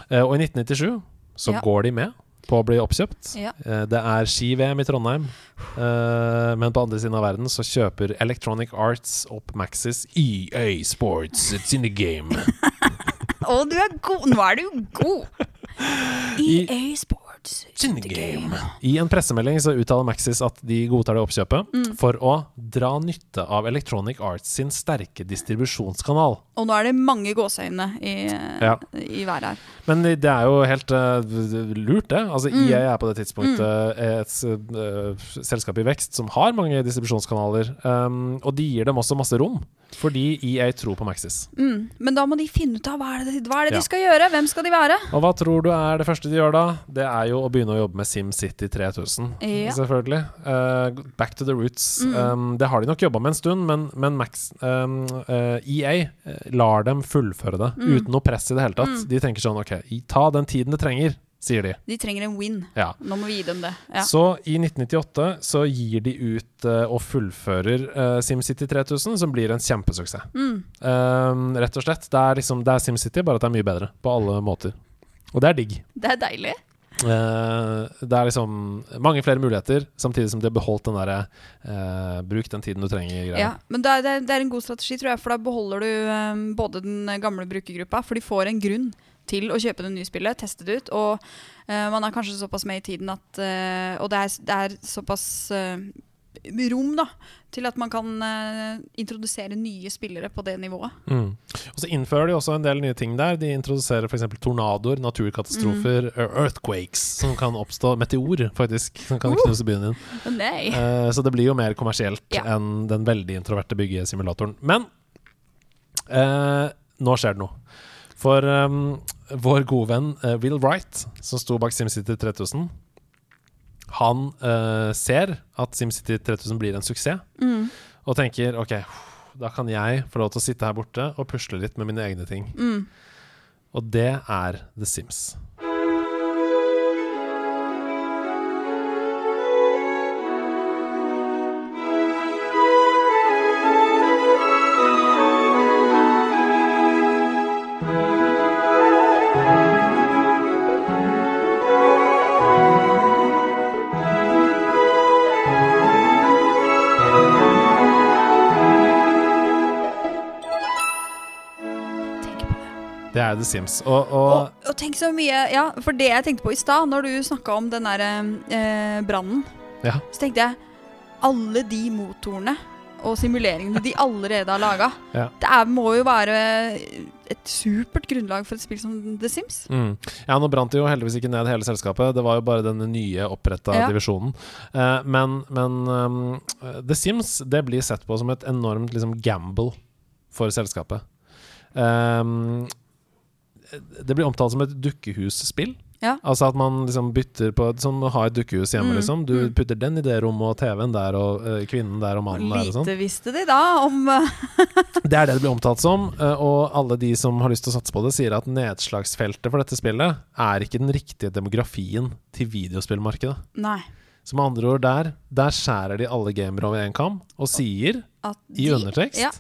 Speaker 1: Eh, Og i 1997 så
Speaker 2: Ja.
Speaker 1: går de med på å bli oppkjøpt.
Speaker 2: Ja.
Speaker 1: Eh, Det er ski-VM i Trondheim, eh, men på andre siden av verden så kjøper Electronic Arts opp Maxis EA Sports. It's in the game.
Speaker 2: Å, du er god! Nå er du god!
Speaker 1: I-
Speaker 2: EA Sports.
Speaker 1: It's in the game. I en pressemelding så uttaler Maxis at de godtar det oppkjøpet
Speaker 2: Mm.
Speaker 1: for å dra nytte av Electronic Arts sin sterke distribusjonskanal.
Speaker 2: Og nå er det mange gåseøyne i,
Speaker 1: Ja.
Speaker 2: i været her.
Speaker 1: Men det er jo helt eh, lurt, det. Altså EA er på det tidspunktet et eh, selskap i vekst som har mange distribusjonskanaler. Um, og de gir dem også masse rom, fordi EA tror på Maxis.
Speaker 2: Mm. Men da må de finne ut av hva er det, hva er det
Speaker 1: Ja.
Speaker 2: de skal gjøre? Hvem skal de være?
Speaker 1: Og hva tror du er det første de gjør da? Det er jo å begynne å jobbe med SimCity 3000,
Speaker 2: Ja.
Speaker 1: selvfølgelig. Eh, back to the roots. Um, det har de nok jobba med en stund, men, men Max, um, eh, EA eh, lar dem fullføre det uten noe press i det hele tatt. De tenker sånn OK, i- ta den tiden det trenger, sier de.
Speaker 2: De trenger en win.
Speaker 1: Ja.
Speaker 2: Nå må vi gi dem det. Ja.
Speaker 1: Så i 1998 så gir de ut eh, og fullfører eh, SimCity 3000, som blir en kjempesuksess.
Speaker 2: Mm.
Speaker 1: Um, rett og slett. Det er, liksom, det er SimCity, bare at det er mye bedre på alle måter. Og det er digg.
Speaker 2: Det er deilig.
Speaker 1: Eh, det er liksom mange flere muligheter, samtidig som de har beholdt den derre eh, 'bruk den tiden du trenger'-greia.
Speaker 2: Ja, men det er, det, er, det er en god strategi, tror jeg, for da beholder du eh, både den gamle brukergruppa, for de får en grunn til å kjøpe det nye spillet, teste det ut, og eh, man er kanskje såpass med i tiden at eh, Og det er, det er såpass eh, rom, da, til at man kan eh, introdusere nye spillere på det nivået.
Speaker 1: Mm. Og så innfører de også en del nye ting der. De introduserer f.eks. tornadoer, naturkatastrofer,
Speaker 2: Mm.
Speaker 1: earthquakes, som kan oppstå. Meteor, faktisk, som kan
Speaker 2: Uh.
Speaker 1: knuse byen din.
Speaker 2: Å nei!
Speaker 1: Eh, så det blir jo mer kommersielt
Speaker 2: Ja.
Speaker 1: enn den veldig introverte byggesimulatoren. Men eh, nå skjer det noe. For ehm, vår gode venn eh, Will Wright, som sto bak SimCity 3000, han eh, ser at SimCity 3000 blir en suksess,
Speaker 2: Mm,
Speaker 1: og tenker OK, da kan jeg få lov til å sitte her borte og pusle litt med mine egne ting.
Speaker 2: mm.
Speaker 1: Og det er The Sims.
Speaker 2: Tenk på det.
Speaker 1: Det er The Sims. Og, og
Speaker 2: Og, og tenk så mye Ja, for det jeg tenkte på i stad, når du snakka om den derre eh, brannen,
Speaker 1: Ja.
Speaker 2: så tenkte jeg alle de motorene og simuleringene de allerede har laga,
Speaker 1: Ja.
Speaker 2: det er, må jo være et supert grunnlag for et spill som The Sims.
Speaker 1: Mm. Ja, nå brant det jo heldigvis ikke ned hele selskapet. Det var jo bare den nye oppretta
Speaker 2: Ja.
Speaker 1: divisjonen. Eh, men men um, The Sims det blir sett på som et enormt liksom, gamble for selskapet. Um, det blir omtalt som et dukkehusspill.
Speaker 2: Ja.
Speaker 1: Altså at man liksom bytter på Som å ha et dukkehus hjemme,
Speaker 2: Mm,
Speaker 1: liksom. Du
Speaker 2: mm.
Speaker 1: putter den i det rommet, og TV-en der, og eh, kvinnen der, og
Speaker 2: Og
Speaker 1: mannen der, og sånn.
Speaker 2: lite visste de da om eh,
Speaker 1: Det er det det blir omtalt som, eh, og alle de som har lyst til å satse på det, sier at nedslagsfeltet for dette spillet er ikke den riktige demografien til videospillmarkedet.
Speaker 2: Nei.
Speaker 1: Så med andre ord, der, der skjærer de alle gamere over én kam, og sier,
Speaker 2: At
Speaker 1: i
Speaker 2: de-
Speaker 1: undertekst,
Speaker 2: Ja.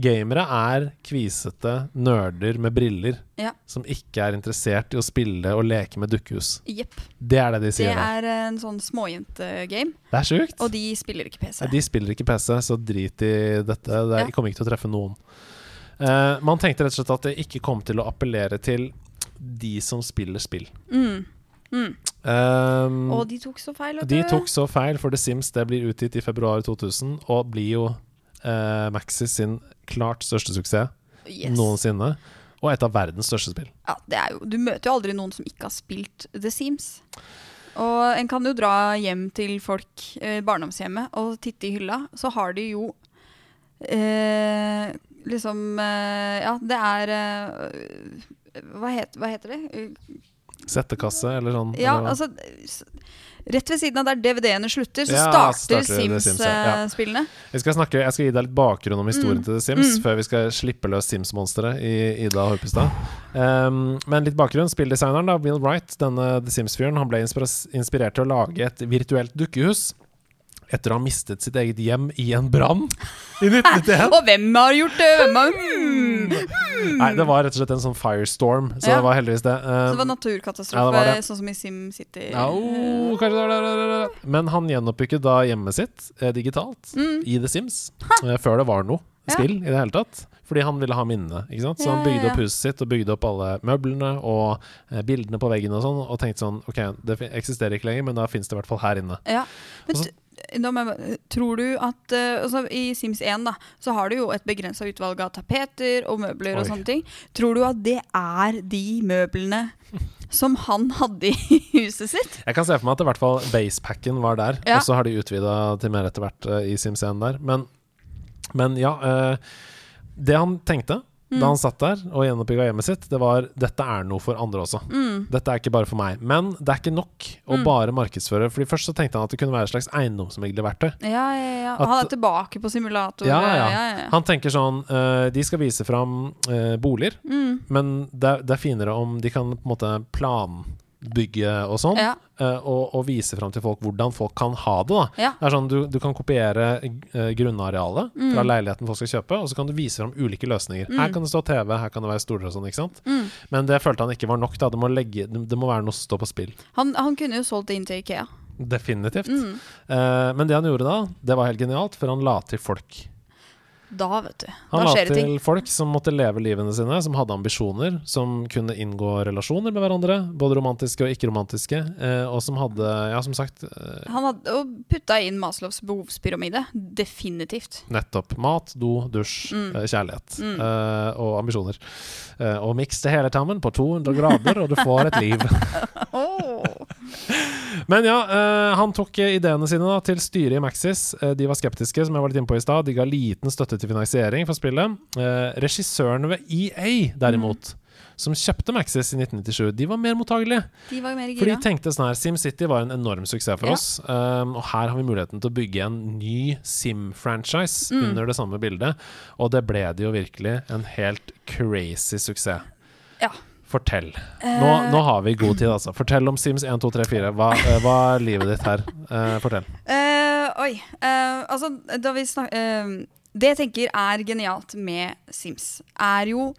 Speaker 1: gamere er kvisete nerder med briller
Speaker 2: Ja.
Speaker 1: som ikke er interessert i å spille og leke med dukkehus.
Speaker 2: Jepp.
Speaker 1: Det er det de
Speaker 2: Det
Speaker 1: sier. Det er,
Speaker 2: er en sånn småjentegame,
Speaker 1: det er sjukt.
Speaker 2: og de spiller ikke PC.
Speaker 1: Nei, de spiller ikke PC, så drit i dette. Det er-
Speaker 2: Ja.
Speaker 1: kommer ikke til å treffe noen. Eh, man tenkte rett og slett at det ikke kom til å appellere til de som spiller spill.
Speaker 2: Mm. Mm.
Speaker 1: Um,
Speaker 2: Og de tok så feil. vet
Speaker 1: de
Speaker 2: du.
Speaker 1: tok så feil, for The Sims det blir utgitt i februar 2000, og blir jo eh, Maxis sin klart største suksess
Speaker 2: yes.
Speaker 1: noensinne. Og et av verdens største spill.
Speaker 2: ja, det er jo, du møter jo aldri noen som ikke har spilt The Sims. Og en kan jo dra hjem til folk, eh, barndomshjemmet, og titte i hylla, så har de jo eh, liksom eh, Ja, det er eh, hva, het, hva heter det? Eh,
Speaker 1: Settekasse eller sånn.
Speaker 2: Ja,
Speaker 1: eller hva?
Speaker 2: altså s- Rett ved siden av der DVD-ene slutter, så
Speaker 1: Ja,
Speaker 2: starter, eh,
Speaker 1: starter det Sims, ja.
Speaker 2: Sims-spillene.
Speaker 1: jeg, skal snakke, jeg skal gi deg litt bakgrunn om historien til The Sims
Speaker 2: mm.
Speaker 1: før vi skal slippe løs Sims-monsteret i Ida Horpestad. Um, men litt bakgrunn. Spilldesigneren, da, Will Wright, denne The Sims-fyren, han ble inspiras- inspirert til å lage et virtuelt dukkehus etter å ha mistet sitt eget hjem i en brann i 1991.
Speaker 2: Og hvem har gjort det? Hvem har, hmm.
Speaker 1: Nei, det var rett og slett en sånn firestorm, så
Speaker 2: Ja.
Speaker 1: det var heldigvis det.
Speaker 2: Så
Speaker 1: Um,
Speaker 2: det var
Speaker 1: Ja,
Speaker 2: naturkatastrofe,
Speaker 1: det var det.
Speaker 2: sånn som i Sim City.
Speaker 1: Au, kanskje det var det, det, det, det. Men han gjenoppbygget da hjemmet sitt eh, digitalt
Speaker 2: Mm.
Speaker 1: i The Sims, eh, før det var noe
Speaker 2: Ja.
Speaker 1: spill i det hele tatt. Fordi han ville ha minnene. ikke sant? Så han
Speaker 2: Ja, ja,
Speaker 1: bygde opp
Speaker 2: ja.
Speaker 1: huset sitt og bygde opp alle møblene og eh, bildene på veggen og sånn, og tenkte sånn OK, det fin- eksisterer ikke lenger, men da fins det i hvert fall her inne.
Speaker 2: Ja. Men
Speaker 1: Og så-
Speaker 2: t- da må jeg bare- tror du at eh, altså, I Sims 1 da, så har du jo et begrensa utvalg av tapeter og møbler. og
Speaker 1: Oi.
Speaker 2: sånne ting. Tror du at det er de møblene som han hadde i huset sitt?
Speaker 1: Jeg kan se for meg at i hvert fall basepacken var der,
Speaker 2: Ja.
Speaker 1: og så har de utvida til mer etter hvert eh, i Sims1 der. Men, men ja. eh, det han tenkte
Speaker 2: Mm.
Speaker 1: da han satt der og gjenoppbygga hjemmet sitt, det var dette er noe for andre også.
Speaker 2: Mm.
Speaker 1: Dette er ikke bare for meg. Men det er ikke nok å bare markedsføre. Fordi Først så tenkte han at det kunne være et slags eiendomsmeglerverktøy.
Speaker 2: Ja, ja, ja.
Speaker 1: At-
Speaker 2: Og han er tilbake på simulator.
Speaker 1: Ja, ja.
Speaker 2: ja, ja, ja.
Speaker 1: Han tenker sånn eh, De skal vise fram eh, boliger,
Speaker 2: Mm.
Speaker 1: men det, er- det er finere om de kan på en måte planbygge og sånn.
Speaker 2: Ja.
Speaker 1: eh, og, og vise fram til folk hvordan folk kan ha det. da
Speaker 2: Ja.
Speaker 1: Det er sånn, Du, du kan kopiere eh, grunnarealet
Speaker 2: Mm.
Speaker 1: fra leiligheten folk skal kjøpe, og så kan du vise fram ulike løsninger. Her kan det stå TV, her kan det være stoler og sånn. ikke sant?
Speaker 2: Mm.
Speaker 1: Men det følte han ikke var nok. da Det må, legge, det det må være noe som står på spill.
Speaker 2: Han, han kunne jo solgt det inn til Ikea.
Speaker 1: Definitivt.
Speaker 2: Mm.
Speaker 1: Eh, men det han gjorde da, det var helt genialt, for han la til folk.
Speaker 2: Da, vet du.
Speaker 1: Han
Speaker 2: da
Speaker 1: la
Speaker 2: skjer det ting.
Speaker 1: til folk som måtte leve livene sine, som hadde ambisjoner, som kunne inngå relasjoner med hverandre, både romantiske og ikke-romantiske, eh, og som hadde, ja, som sagt, eh,
Speaker 2: Han hadde og putta inn Maslows behovspyramide. Definitivt.
Speaker 1: nettopp mat, do, dusj,
Speaker 2: Mm.
Speaker 1: eh, kjærlighet
Speaker 2: Mm.
Speaker 1: eh, og ambisjoner. Eh, og miks det hele sammen på 200 grader, og du får et liv.
Speaker 2: Åh.
Speaker 1: Men ja, eh, han tok eh, ideene sine da, til styret i Maxis. Eh, de var skeptiske, som jeg var litt inne på i stad. De ga liten støtte til finansiering for spillet. Eh, regissørene ved EA,
Speaker 2: Mm.
Speaker 1: derimot, som kjøpte Maxis i 1997, de var mer mottagelige.
Speaker 2: De var jo mer
Speaker 1: For de
Speaker 2: gira.
Speaker 1: tenkte sånn her SimCity var en enorm suksess for
Speaker 2: Ja.
Speaker 1: oss, um, og her har vi muligheten til å bygge en ny Sim-franchise
Speaker 2: Mm.
Speaker 1: under det samme bildet. Og det ble det jo virkelig. En helt crazy suksess.
Speaker 2: Ja.
Speaker 1: Fortell. Nå,
Speaker 2: Eh.
Speaker 1: nå har vi god tid, altså. Fortell om Sims 1, 2, 3, 4. Hva, eh, hva er livet ditt her? Eh, fortell.
Speaker 2: Eh, oi. eh, altså, da vi snak eh, det jeg tenker er genialt med Sims, er jo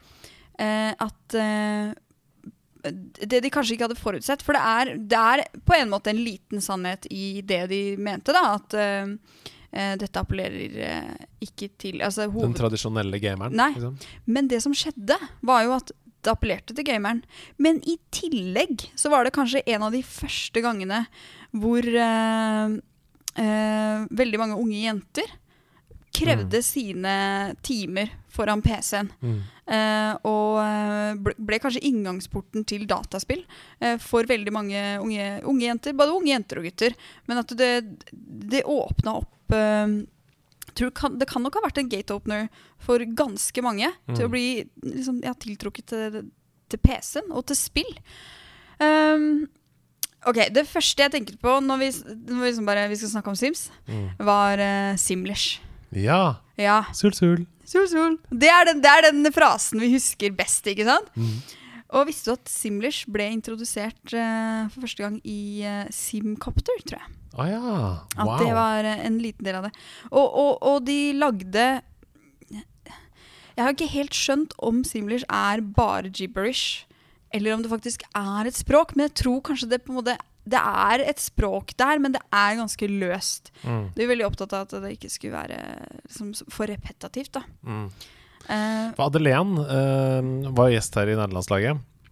Speaker 2: eh, at eh, det de kanskje ikke hadde forutsett. For det er, det er på en måte en liten sannhet i det de mente, da. At eh, eh, dette appellerer eh, ikke til altså,
Speaker 1: Den
Speaker 2: hoved...
Speaker 1: tradisjonelle gameren.
Speaker 2: Nei.
Speaker 1: liksom.
Speaker 2: Men det som skjedde, var jo at det appellerte til gameren. Men i tillegg så var det kanskje en av de første gangene hvor eh, eh, veldig mange unge jenter krevde sine timer foran PC-en.
Speaker 1: Mm.
Speaker 2: Eh, og eh, ble, ble kanskje inngangsporten til dataspill eh, for veldig mange unge, unge jenter. Både unge jenter og gutter. Men at det, det åpna opp eh, tror det kan, Det kan nok ha vært en gate-opener for ganske mange til
Speaker 1: Mm.
Speaker 2: å bli liksom, ja, tiltrukket til, til PC-en og til spill. Um, ok, Det første jeg tenkte på når vi, s- når vi, liksom bare, vi skal snakke om Sims,
Speaker 1: Mm.
Speaker 2: var eh, Simlish.
Speaker 1: Ja.
Speaker 2: Ja,
Speaker 1: Sul, sul.
Speaker 2: Sol, sol. Det er, den, det er den frasen vi husker best, ikke sant?
Speaker 1: Mm.
Speaker 2: Og visste du at Simlish ble introdusert eh, for første gang i eh, Simcopter, tror jeg.
Speaker 1: Å ja.
Speaker 2: At
Speaker 1: Wow.
Speaker 2: det var eh, en liten del av det. Og, og, og de lagde Jeg har ikke helt skjønt om Simlish er bare gibberish, eller om det faktisk er et språk. Men jeg tror kanskje det på en måte Det er et språk der, men det er ganske løst.
Speaker 1: Mm.
Speaker 2: De er veldig opptatt av at det ikke skulle være liksom, for repetativt, da.
Speaker 1: Mm.
Speaker 2: Eh,
Speaker 1: For Madeleine eh, var gjest her i nederlandslaget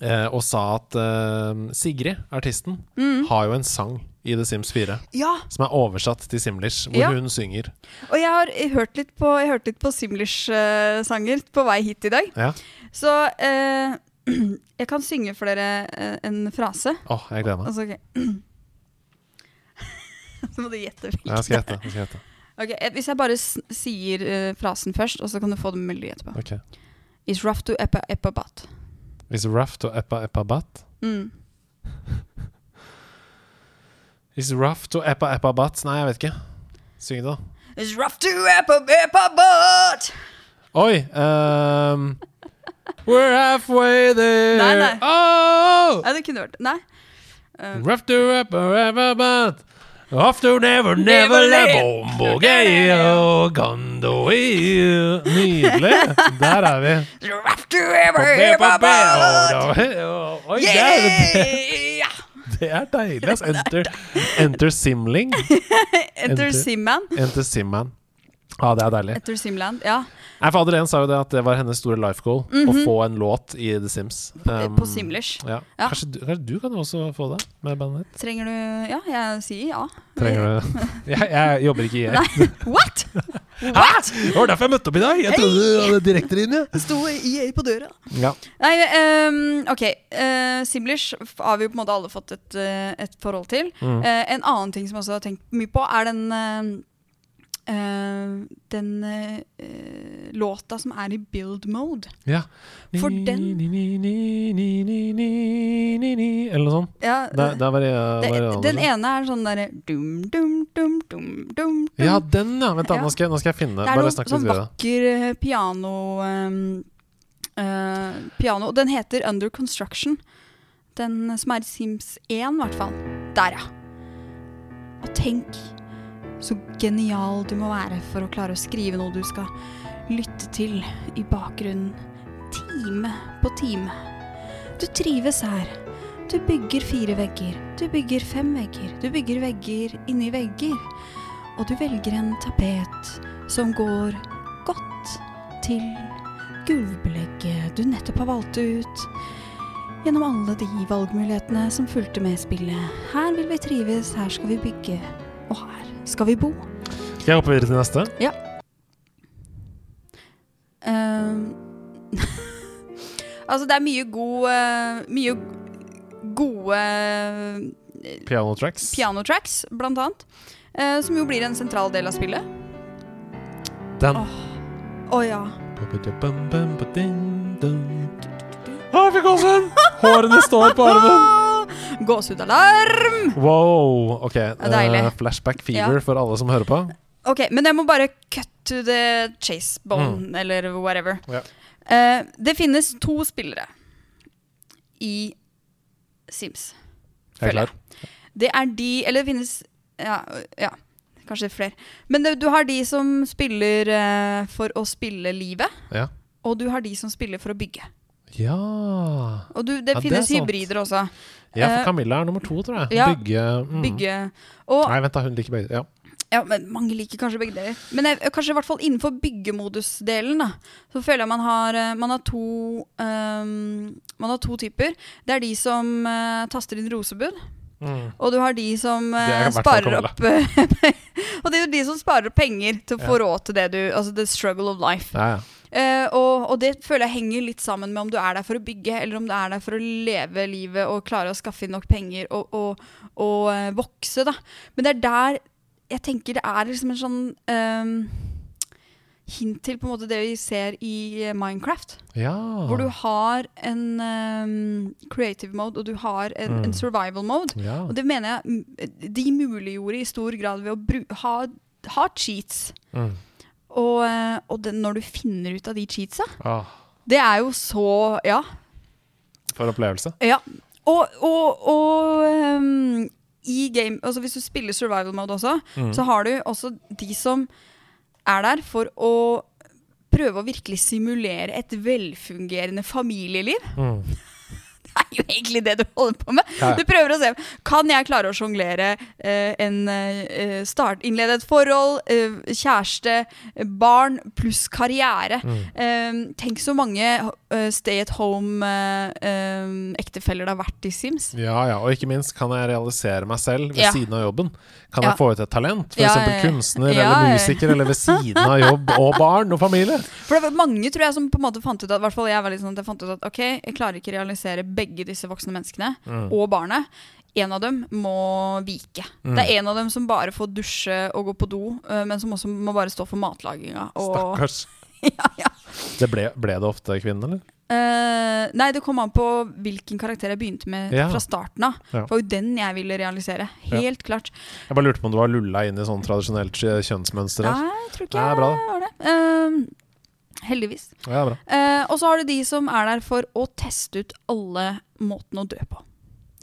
Speaker 1: eh, og sa at eh, Sigrid, artisten,
Speaker 2: Mm.
Speaker 1: har jo en sang i The Sims 4
Speaker 2: ja,
Speaker 1: som er oversatt til Simlish, hvor
Speaker 2: Ja.
Speaker 1: hun synger.
Speaker 2: Og jeg har hørt litt på, jeg hørte litt på Simlish-sanger på vei hit i dag.
Speaker 1: Ja.
Speaker 2: Så eh, jeg kan synge for dere eh, en frase.
Speaker 1: Åh, jeg gleder meg.
Speaker 2: Altså, ok. Så må du gjette hvilken.
Speaker 1: Jeg skal gjette. Jeg skal gjette.
Speaker 2: Ok, eh, hvis jeg bare s sier eh, frasen først, og så kan du få det med melodi etterpå.
Speaker 1: Ok.
Speaker 2: It's rough to epa epa bat.
Speaker 1: Is raft og eppa eppa bat?
Speaker 2: Mm.
Speaker 1: Is raft og eppa eppa bat? Nei, jeg vet ikke. Syng det, da.
Speaker 2: It's rough to wrap up, wrap up, but
Speaker 1: Oi! ehm, we're halfway there.
Speaker 2: Nei, nei.
Speaker 1: Oh!
Speaker 2: Nei, det kunne vært Nei. Eh,
Speaker 1: Rough to up forever, but off to never, never
Speaker 2: Never
Speaker 1: let
Speaker 2: let-
Speaker 1: bombo gay og gando i- Nydelig! Der er vi.
Speaker 2: it's rough to ever, wrap up, but
Speaker 1: Oi, der,
Speaker 2: Yeah!
Speaker 1: det er deilig. ass. Enter, enter Simling.
Speaker 2: Enter Simman.
Speaker 1: Enter Simman. Ja, det er deilig.
Speaker 2: Enter Simland, ja.
Speaker 1: Nei, Fader 1 sa jo det at det var hennes store life goal, å få en låt i The Sims. Um,
Speaker 2: Mhm. Eh, På Simlish.
Speaker 1: Ja.
Speaker 2: Ja.
Speaker 1: Kanskje, du, kanskje du kan også få det med bandet ditt?
Speaker 2: Trenger du Ja, jeg sier ja.
Speaker 1: Trenger du Jeg, jeg jobber ikke i E jeg.
Speaker 2: What?!
Speaker 1: What? Det var derfor jeg møtte opp i dag! Jeg trodde du hadde direktelinje.
Speaker 2: Det sto EA på døra.
Speaker 1: Ja.
Speaker 2: Nei, ehm, OK. eh, Simlish f- har vi jo på en måte alle fått et, eh, et forhold til.
Speaker 1: Mm.
Speaker 2: Eh, en annen ting som jeg også har tenkt mye på, er den eh, eh, Den eh, eh, låta som er i build mode.
Speaker 1: ja.
Speaker 2: For den-
Speaker 1: Ni, ni, ni, ni, ni, ni, ni, ni, Eller noe sånt.
Speaker 2: Ja,
Speaker 1: Der, der var det,
Speaker 2: det,
Speaker 1: var det
Speaker 2: den ene er sånn derre dum, dum, dum, dum, dum, dum.
Speaker 1: Ja, den, ja. Vent, da.
Speaker 2: Ja.
Speaker 1: Nå skal, jeg- nå skal jeg finne.
Speaker 2: Det er
Speaker 1: Bare
Speaker 2: noe
Speaker 1: snakk
Speaker 2: sånn
Speaker 1: litt videre.
Speaker 2: vakker eh, piano ehm, eh, Piano, og den heter Under Construction. Den eh, som er i Sims 1, i hvert fall. Der, ja. Og tenk så genial du må være for å klare å skrive noe du skal lytte til i bakgrunnen. Time på time. Du trives her. Du bygger fire vegger. Du bygger fem vegger. Du bygger vegger inni vegger. Og du velger en tapet som går godt til gulvbelegget du nettopp har valgt ut. Gjennom alle de valgmulighetene som fulgte med spillet. Her vil vi trives, her skal vi bygge, og her skal vi bo.
Speaker 1: Skal jeg hoppe videre til neste?
Speaker 2: Ehm, altså, det er mye god eh, Mye gode eh,
Speaker 1: Piano tracks.
Speaker 2: pianotracks, blant annet. eh, som jo blir en sentral del av spillet.
Speaker 1: Den.
Speaker 2: Åh. Å ja.
Speaker 1: Å, jeg fikk gåsehud! Hårene står på armen.
Speaker 2: Gåsehudalarm!
Speaker 1: Wow. OK.
Speaker 2: er deilig.
Speaker 1: eh, flashback fever
Speaker 2: Ja.
Speaker 1: for alle som hører på.
Speaker 2: Ok, men jeg må bare cut to the chase bone, eller whatever.
Speaker 1: Mm. Ja.
Speaker 2: Eh, det finnes to spillere i Sims.
Speaker 1: Jeg er
Speaker 2: Føler
Speaker 1: klar.
Speaker 2: Det er de Eller det finnes Ja, ja kanskje flere. Men det, du har de som spiller eh, for å spille livet,
Speaker 1: Ja.
Speaker 2: og du har de som spiller for å bygge.
Speaker 1: ja.
Speaker 2: Og du, det
Speaker 1: Ja, det er
Speaker 2: finnes
Speaker 1: sant.
Speaker 2: hybrider også.
Speaker 1: Ja, for
Speaker 2: Eh,
Speaker 1: Camilla er nummer to, tror jeg.
Speaker 2: ja.
Speaker 1: Bygge, mm.
Speaker 2: Bygge og,
Speaker 1: Nei, vent, da. Hun liker begge. Ja.
Speaker 2: ja, men Mange liker kanskje begge deler. Men jeg, eh, kanskje i hvert fall innenfor byggemodusdelen da, så føler jeg man har, eh, man har to ehm, Man har to typer. Det er de som eh, taster inn rosebud,
Speaker 1: Mm.
Speaker 2: og du har de som eh,
Speaker 1: Det er i hvert fall
Speaker 2: sparer
Speaker 1: Camilla.
Speaker 2: opp Og det er jo de som sparer opp penger til å få råd til det du Altså the struggle of life.
Speaker 1: Ja, ja.
Speaker 2: Eh, og, og det føler jeg henger litt sammen med om du er der for å bygge, eller om du er der for å leve livet og klare å skaffe inn nok penger og, og, og eh, vokse, da. Men det er der jeg tenker det er liksom en sånn ehm, hint til på en måte det vi ser i eh, Minecraft.
Speaker 1: ja.
Speaker 2: Hvor du har en ehm, creative mode, og du har en,
Speaker 1: Mm.
Speaker 2: en survival mode.
Speaker 1: ja.
Speaker 2: Og det mener jeg mm, de muliggjorde i stor grad ved å bru ha, ha cheats.
Speaker 1: Mm.
Speaker 2: Og, eh, og den, når du finner ut av de cheatsa
Speaker 1: Ah,
Speaker 2: det er jo så Ja.
Speaker 1: for opplevelse.
Speaker 2: ja. Og, og, og ehm, i game altså Hvis du spiller survival mode også,
Speaker 1: Mm.
Speaker 2: så har du også de som er der for å prøve å virkelig simulere et velfungerende familieliv.
Speaker 1: Mm.
Speaker 2: Det er jo egentlig det du holder på med.
Speaker 1: Ja, ja.
Speaker 2: Du prøver å se Kan jeg klare å sjonglere eh, en eh, start, innlede et forhold, eh, kjæreste, eh, barn pluss karriere?
Speaker 1: Mm.
Speaker 2: Ehm, tenk så mange eh, stay at home-ektefeller det har vært i Sims.
Speaker 1: Ja, ja, og ikke minst kan jeg realisere meg selv ved
Speaker 2: Ja.
Speaker 1: siden av jobben. Kan
Speaker 2: Ja.
Speaker 1: jeg få ut et talent? For
Speaker 2: Ja,
Speaker 1: eksempel
Speaker 2: ja, ja.
Speaker 1: kunstner
Speaker 2: Ja, ja,
Speaker 1: eller
Speaker 2: ja.
Speaker 1: musiker, eller ved siden av jobb og barn og familie.
Speaker 2: For det var mange tror jeg som på en måte fant ut at, i hvert fall jeg var litt sånn at jeg fant ut at ok, jeg klarer ikke realisere begge disse voksne menneskene
Speaker 1: Mm.
Speaker 2: og barnet. En av dem må vike.
Speaker 1: Mm.
Speaker 2: Det er en av dem som bare får dusje og gå på do, eh, men som også må bare stå for matlaginga. Og,
Speaker 1: Stakkars.
Speaker 2: ja, ja.
Speaker 1: Det ble, ble det ofte kvinnen, eller?
Speaker 2: Eh, nei, det kom an på hvilken karakter jeg begynte med
Speaker 1: Ja.
Speaker 2: fra starten av.
Speaker 1: Ja.
Speaker 2: Det var jo den jeg ville realisere.
Speaker 1: Ja.
Speaker 2: Helt klart.
Speaker 1: Jeg bare lurte på om du var lulla inn i sånn tradisjonelt kjø- kjønnsmønster
Speaker 2: Nei,
Speaker 1: der.
Speaker 2: jeg tror ikke
Speaker 1: Nei,
Speaker 2: jeg
Speaker 1: bra.
Speaker 2: var det. Eh, heldigvis.
Speaker 1: Ja, bra.
Speaker 2: Eh, og så har du de som er der for å teste ut alle måtene å dø på.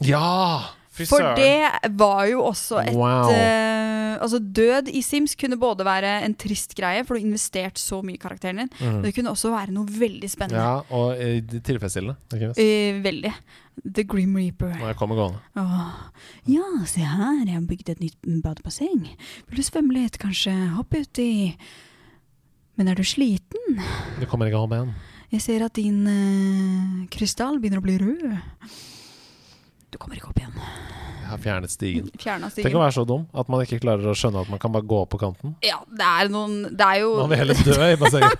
Speaker 1: Ja! Fy
Speaker 2: For
Speaker 1: søren.
Speaker 2: det var jo også et
Speaker 1: Wow.
Speaker 2: eh, Altså, død i Sims kunne både være en trist greie, for du har investert så mye i karakteren din,
Speaker 1: Mhm.
Speaker 2: men det kunne også være noe veldig spennende.
Speaker 1: Ja, og eh, det- tilfredsstillende. Ikke minst.
Speaker 2: Eh, veldig. The Grim Reaper.
Speaker 1: Når jeg kommer gående.
Speaker 2: Åh. Ja, se her, jeg har bygd et nytt badebasseng. Vil du svømme litt, kanskje? Hopp uti. Men er du sliten?
Speaker 1: Du kommer ikke hjem igjen.
Speaker 2: Jeg ser at din eh, krystall begynner å bli rød. Du kommer ikke opp igjen.
Speaker 1: Jeg har fjernet stigen.
Speaker 2: Fjerna stigen.
Speaker 1: Tenk å være så dum at man ikke klarer å skjønne at man kan bare gå opp på kanten.
Speaker 2: Ja, det er noen Det er jo
Speaker 1: Man vil heller dø i bassenget.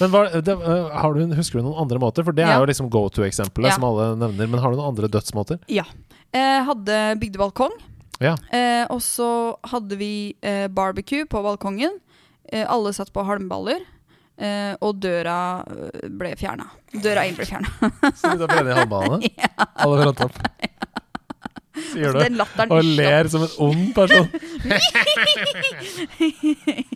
Speaker 1: Men hva, det, eh, har du, husker du noen andre måter? For det er
Speaker 2: Ja.
Speaker 1: jo liksom go to-eksempelet
Speaker 2: Ja.
Speaker 1: som alle nevner. Men har du noen andre dødsmåter?
Speaker 2: Eh, hadde bygdebalkong.
Speaker 1: Ja.
Speaker 2: Eh, og så hadde vi eh, barbecue på balkongen. Eh, alle satt på halmballer. Eh, og døra eh, ble fjerna. Døra inn ble fjerna.
Speaker 1: Sitter og brenner i halmbanene? Alle fronter opp. Sier du
Speaker 2: Altså, Den latteren
Speaker 1: og
Speaker 2: slapp.
Speaker 1: ler som en ond person.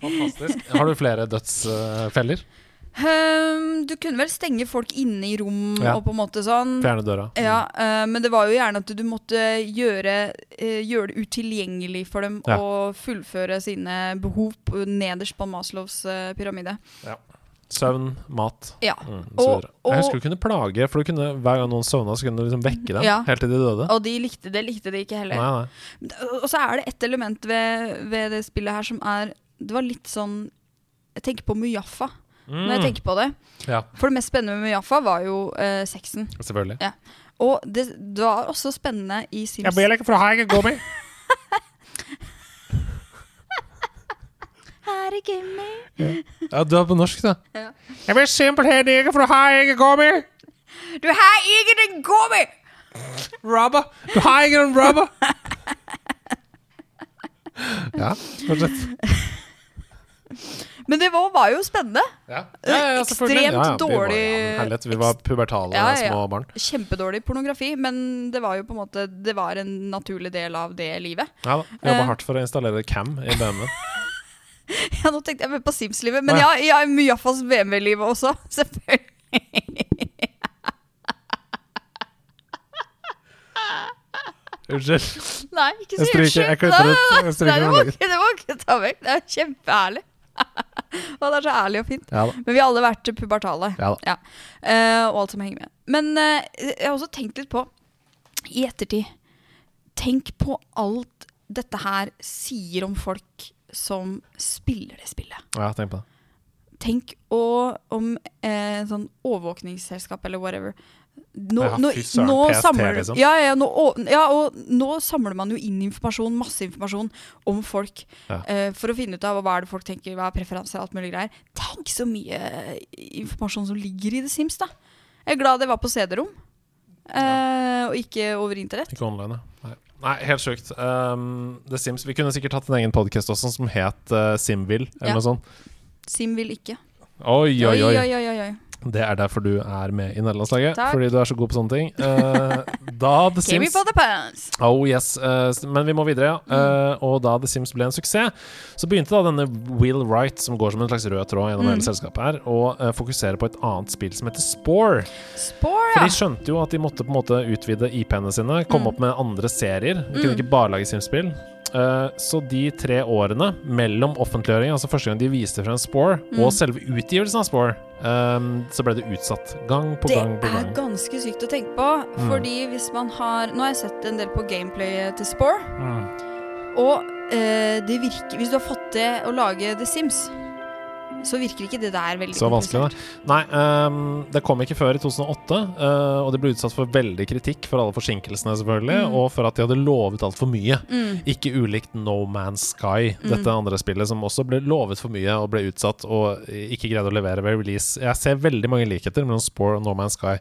Speaker 1: Fantastisk. Har du flere dødsfeller?
Speaker 2: Ehm, du kunne vel stenge folk inne i rom
Speaker 1: Ja.
Speaker 2: og på en måte sånn.
Speaker 1: Fjerne døra.
Speaker 2: Ja, eh, men det var jo gjerne at du måtte gjøre, eh, gjøre det utilgjengelig for dem
Speaker 1: Ja.
Speaker 2: å fullføre sine behov på- nederst på Maslows eh, pyramide.
Speaker 1: Søvn, mat.
Speaker 2: Ja.
Speaker 1: Mm, og, så
Speaker 2: Og-
Speaker 1: videre. jeg
Speaker 2: og-
Speaker 1: husker du kunne plage, for du kunne, hver gang noen sovna, så kunne du liksom vekke dem
Speaker 2: Ja.
Speaker 1: helt til de døde.
Speaker 2: Og de likte det, likte de ikke heller.
Speaker 1: Nei, nei.
Speaker 2: Og så er det et element ved, ved det spillet her som er Det var litt sånn Jeg tenker på Mujaffa når jeg
Speaker 1: Mm.
Speaker 2: tenker på det.
Speaker 1: Ja,
Speaker 2: For det mest spennende med Mujaffa var jo eh, sexen.
Speaker 1: selvfølgelig.
Speaker 2: Og det, det var også spennende i Sims.
Speaker 1: ikke for å ha egen gummi.
Speaker 2: Her er gummi.
Speaker 1: Ja, du er på norsk, da.
Speaker 2: Ja.
Speaker 1: Jeg blir simpelthen ikke for å ha egen gummi.
Speaker 2: Du har ikke en gummi!
Speaker 1: Rubber. Du har ingen rubber. ja, fortsett.
Speaker 2: Men det var, var jo spennende.
Speaker 1: Ja.
Speaker 2: Ekstremt
Speaker 1: Vi var,
Speaker 2: dårlig-
Speaker 1: ja, men herlighet, vi var pubertale
Speaker 2: Ja, ja, ja.
Speaker 1: små barn.
Speaker 2: Kjempedårlig pornografi, men det var jo på en måte Det var en naturlig del av det livet.
Speaker 1: Ja da. Jobba
Speaker 2: Eh.
Speaker 1: hardt for å installere cam i BMW-en.
Speaker 2: Ja, nå tenkte jeg mer på Sims-livet, men
Speaker 1: Å,
Speaker 2: ja, ja Mujaffas BMW-livet også, selvfølgelig.
Speaker 1: Unnskyld.
Speaker 2: Nei, ikke så
Speaker 1: Jeg stryker- jeg klipper ut. Jeg
Speaker 2: Nei,
Speaker 1: stryker
Speaker 2: det
Speaker 1: den
Speaker 2: må
Speaker 1: dagen.
Speaker 2: ikke, det må ikke ta vekk. Det er kjempeærlig. Og det er så ærlig og fint.
Speaker 1: Ja da.
Speaker 2: Men vi har alle vært pubertale.
Speaker 1: Ja da.
Speaker 2: Eh, og alt som henger med. Men eh, jeg har også tenkt litt på, i ettertid Tenk på alt dette her sier om folk som spiller det spillet.
Speaker 1: Ja, tenk på det.
Speaker 2: Tenk å, om eh, sånn overvåkningsselskap eller whatever. Nå,
Speaker 1: Ja,
Speaker 2: nå,
Speaker 1: fy søren,
Speaker 2: nå
Speaker 1: PST,
Speaker 2: samler,
Speaker 1: liksom.
Speaker 2: ja, ja, nå, å- ja, og nå samler man jo inn informasjon, masse informasjon om folk
Speaker 1: Ja.
Speaker 2: eh, for å finne ut av hva er det folk tenker, hva er preferanser og alt mulig greier. Tenk så mye eh, informasjon som ligger i The Sims, da. Jeg er glad det var på CD-rom, eh, og ikke over internett.
Speaker 1: Ikke online, ja. nei. Nei, helt sjukt. Um, The Sims Vi kunne sikkert hatt en egen podkast også som het uh, Simville, eller
Speaker 2: Ja.
Speaker 1: noe sånt.
Speaker 2: Sim vil ikke.
Speaker 1: Oi, oi, oi.
Speaker 2: oi, oi, oi.
Speaker 1: Det er derfor du er med i nederlandslaget,
Speaker 2: Takk.
Speaker 1: fordi du er så god på sånne ting. Uh, da The
Speaker 2: Give me
Speaker 1: Sims
Speaker 2: for the pants.
Speaker 1: Oh yes, eh, s- men vi må videre, ja. Eh, og da The Sims ble en suksess, så begynte da denne Will Wright, som går som en slags rød tråd gjennom hele selskapet her, å eh, fokusere på et annet spill som heter Spore.
Speaker 2: Spore,
Speaker 1: For
Speaker 2: ja. Mm.
Speaker 1: de skjønte jo at de måtte på en måte utvide IP-ene sine, komme opp med andre serier. De kunne ikke bare lage Sims-spill. Eh, så de tre årene mellom offentliggjøring, altså første gang de viste frem Spore,
Speaker 2: Mm.
Speaker 1: og selve utgivelsen av Spore, eh, så ble det utsatt. Gang på
Speaker 2: Det
Speaker 1: gang på
Speaker 2: er
Speaker 1: gang.
Speaker 2: ganske sykt å tenke på,
Speaker 1: Mm.
Speaker 2: fordi hvis man har Nå har jeg sett en del på gameplay til Spore,
Speaker 1: Mm.
Speaker 2: og eh, det virker Hvis du har fått til å lage The Sims, så virker ikke det der veldig
Speaker 1: Så vanskelig,
Speaker 2: komplisert.
Speaker 1: da. Nei, ehm, det kom ikke før i 2008, eh, og de ble utsatt for veldig kritikk for alle forsinkelsene, selvfølgelig,
Speaker 2: Mm.
Speaker 1: og for at de hadde lovet altfor mye.
Speaker 2: Mm.
Speaker 1: Ikke ulikt No Man's Sky, dette andre spillet som også ble lovet for mye og ble utsatt og ikke greide å levere ved release. Jeg ser veldig mange likheter mellom Spore og No Man's Sky,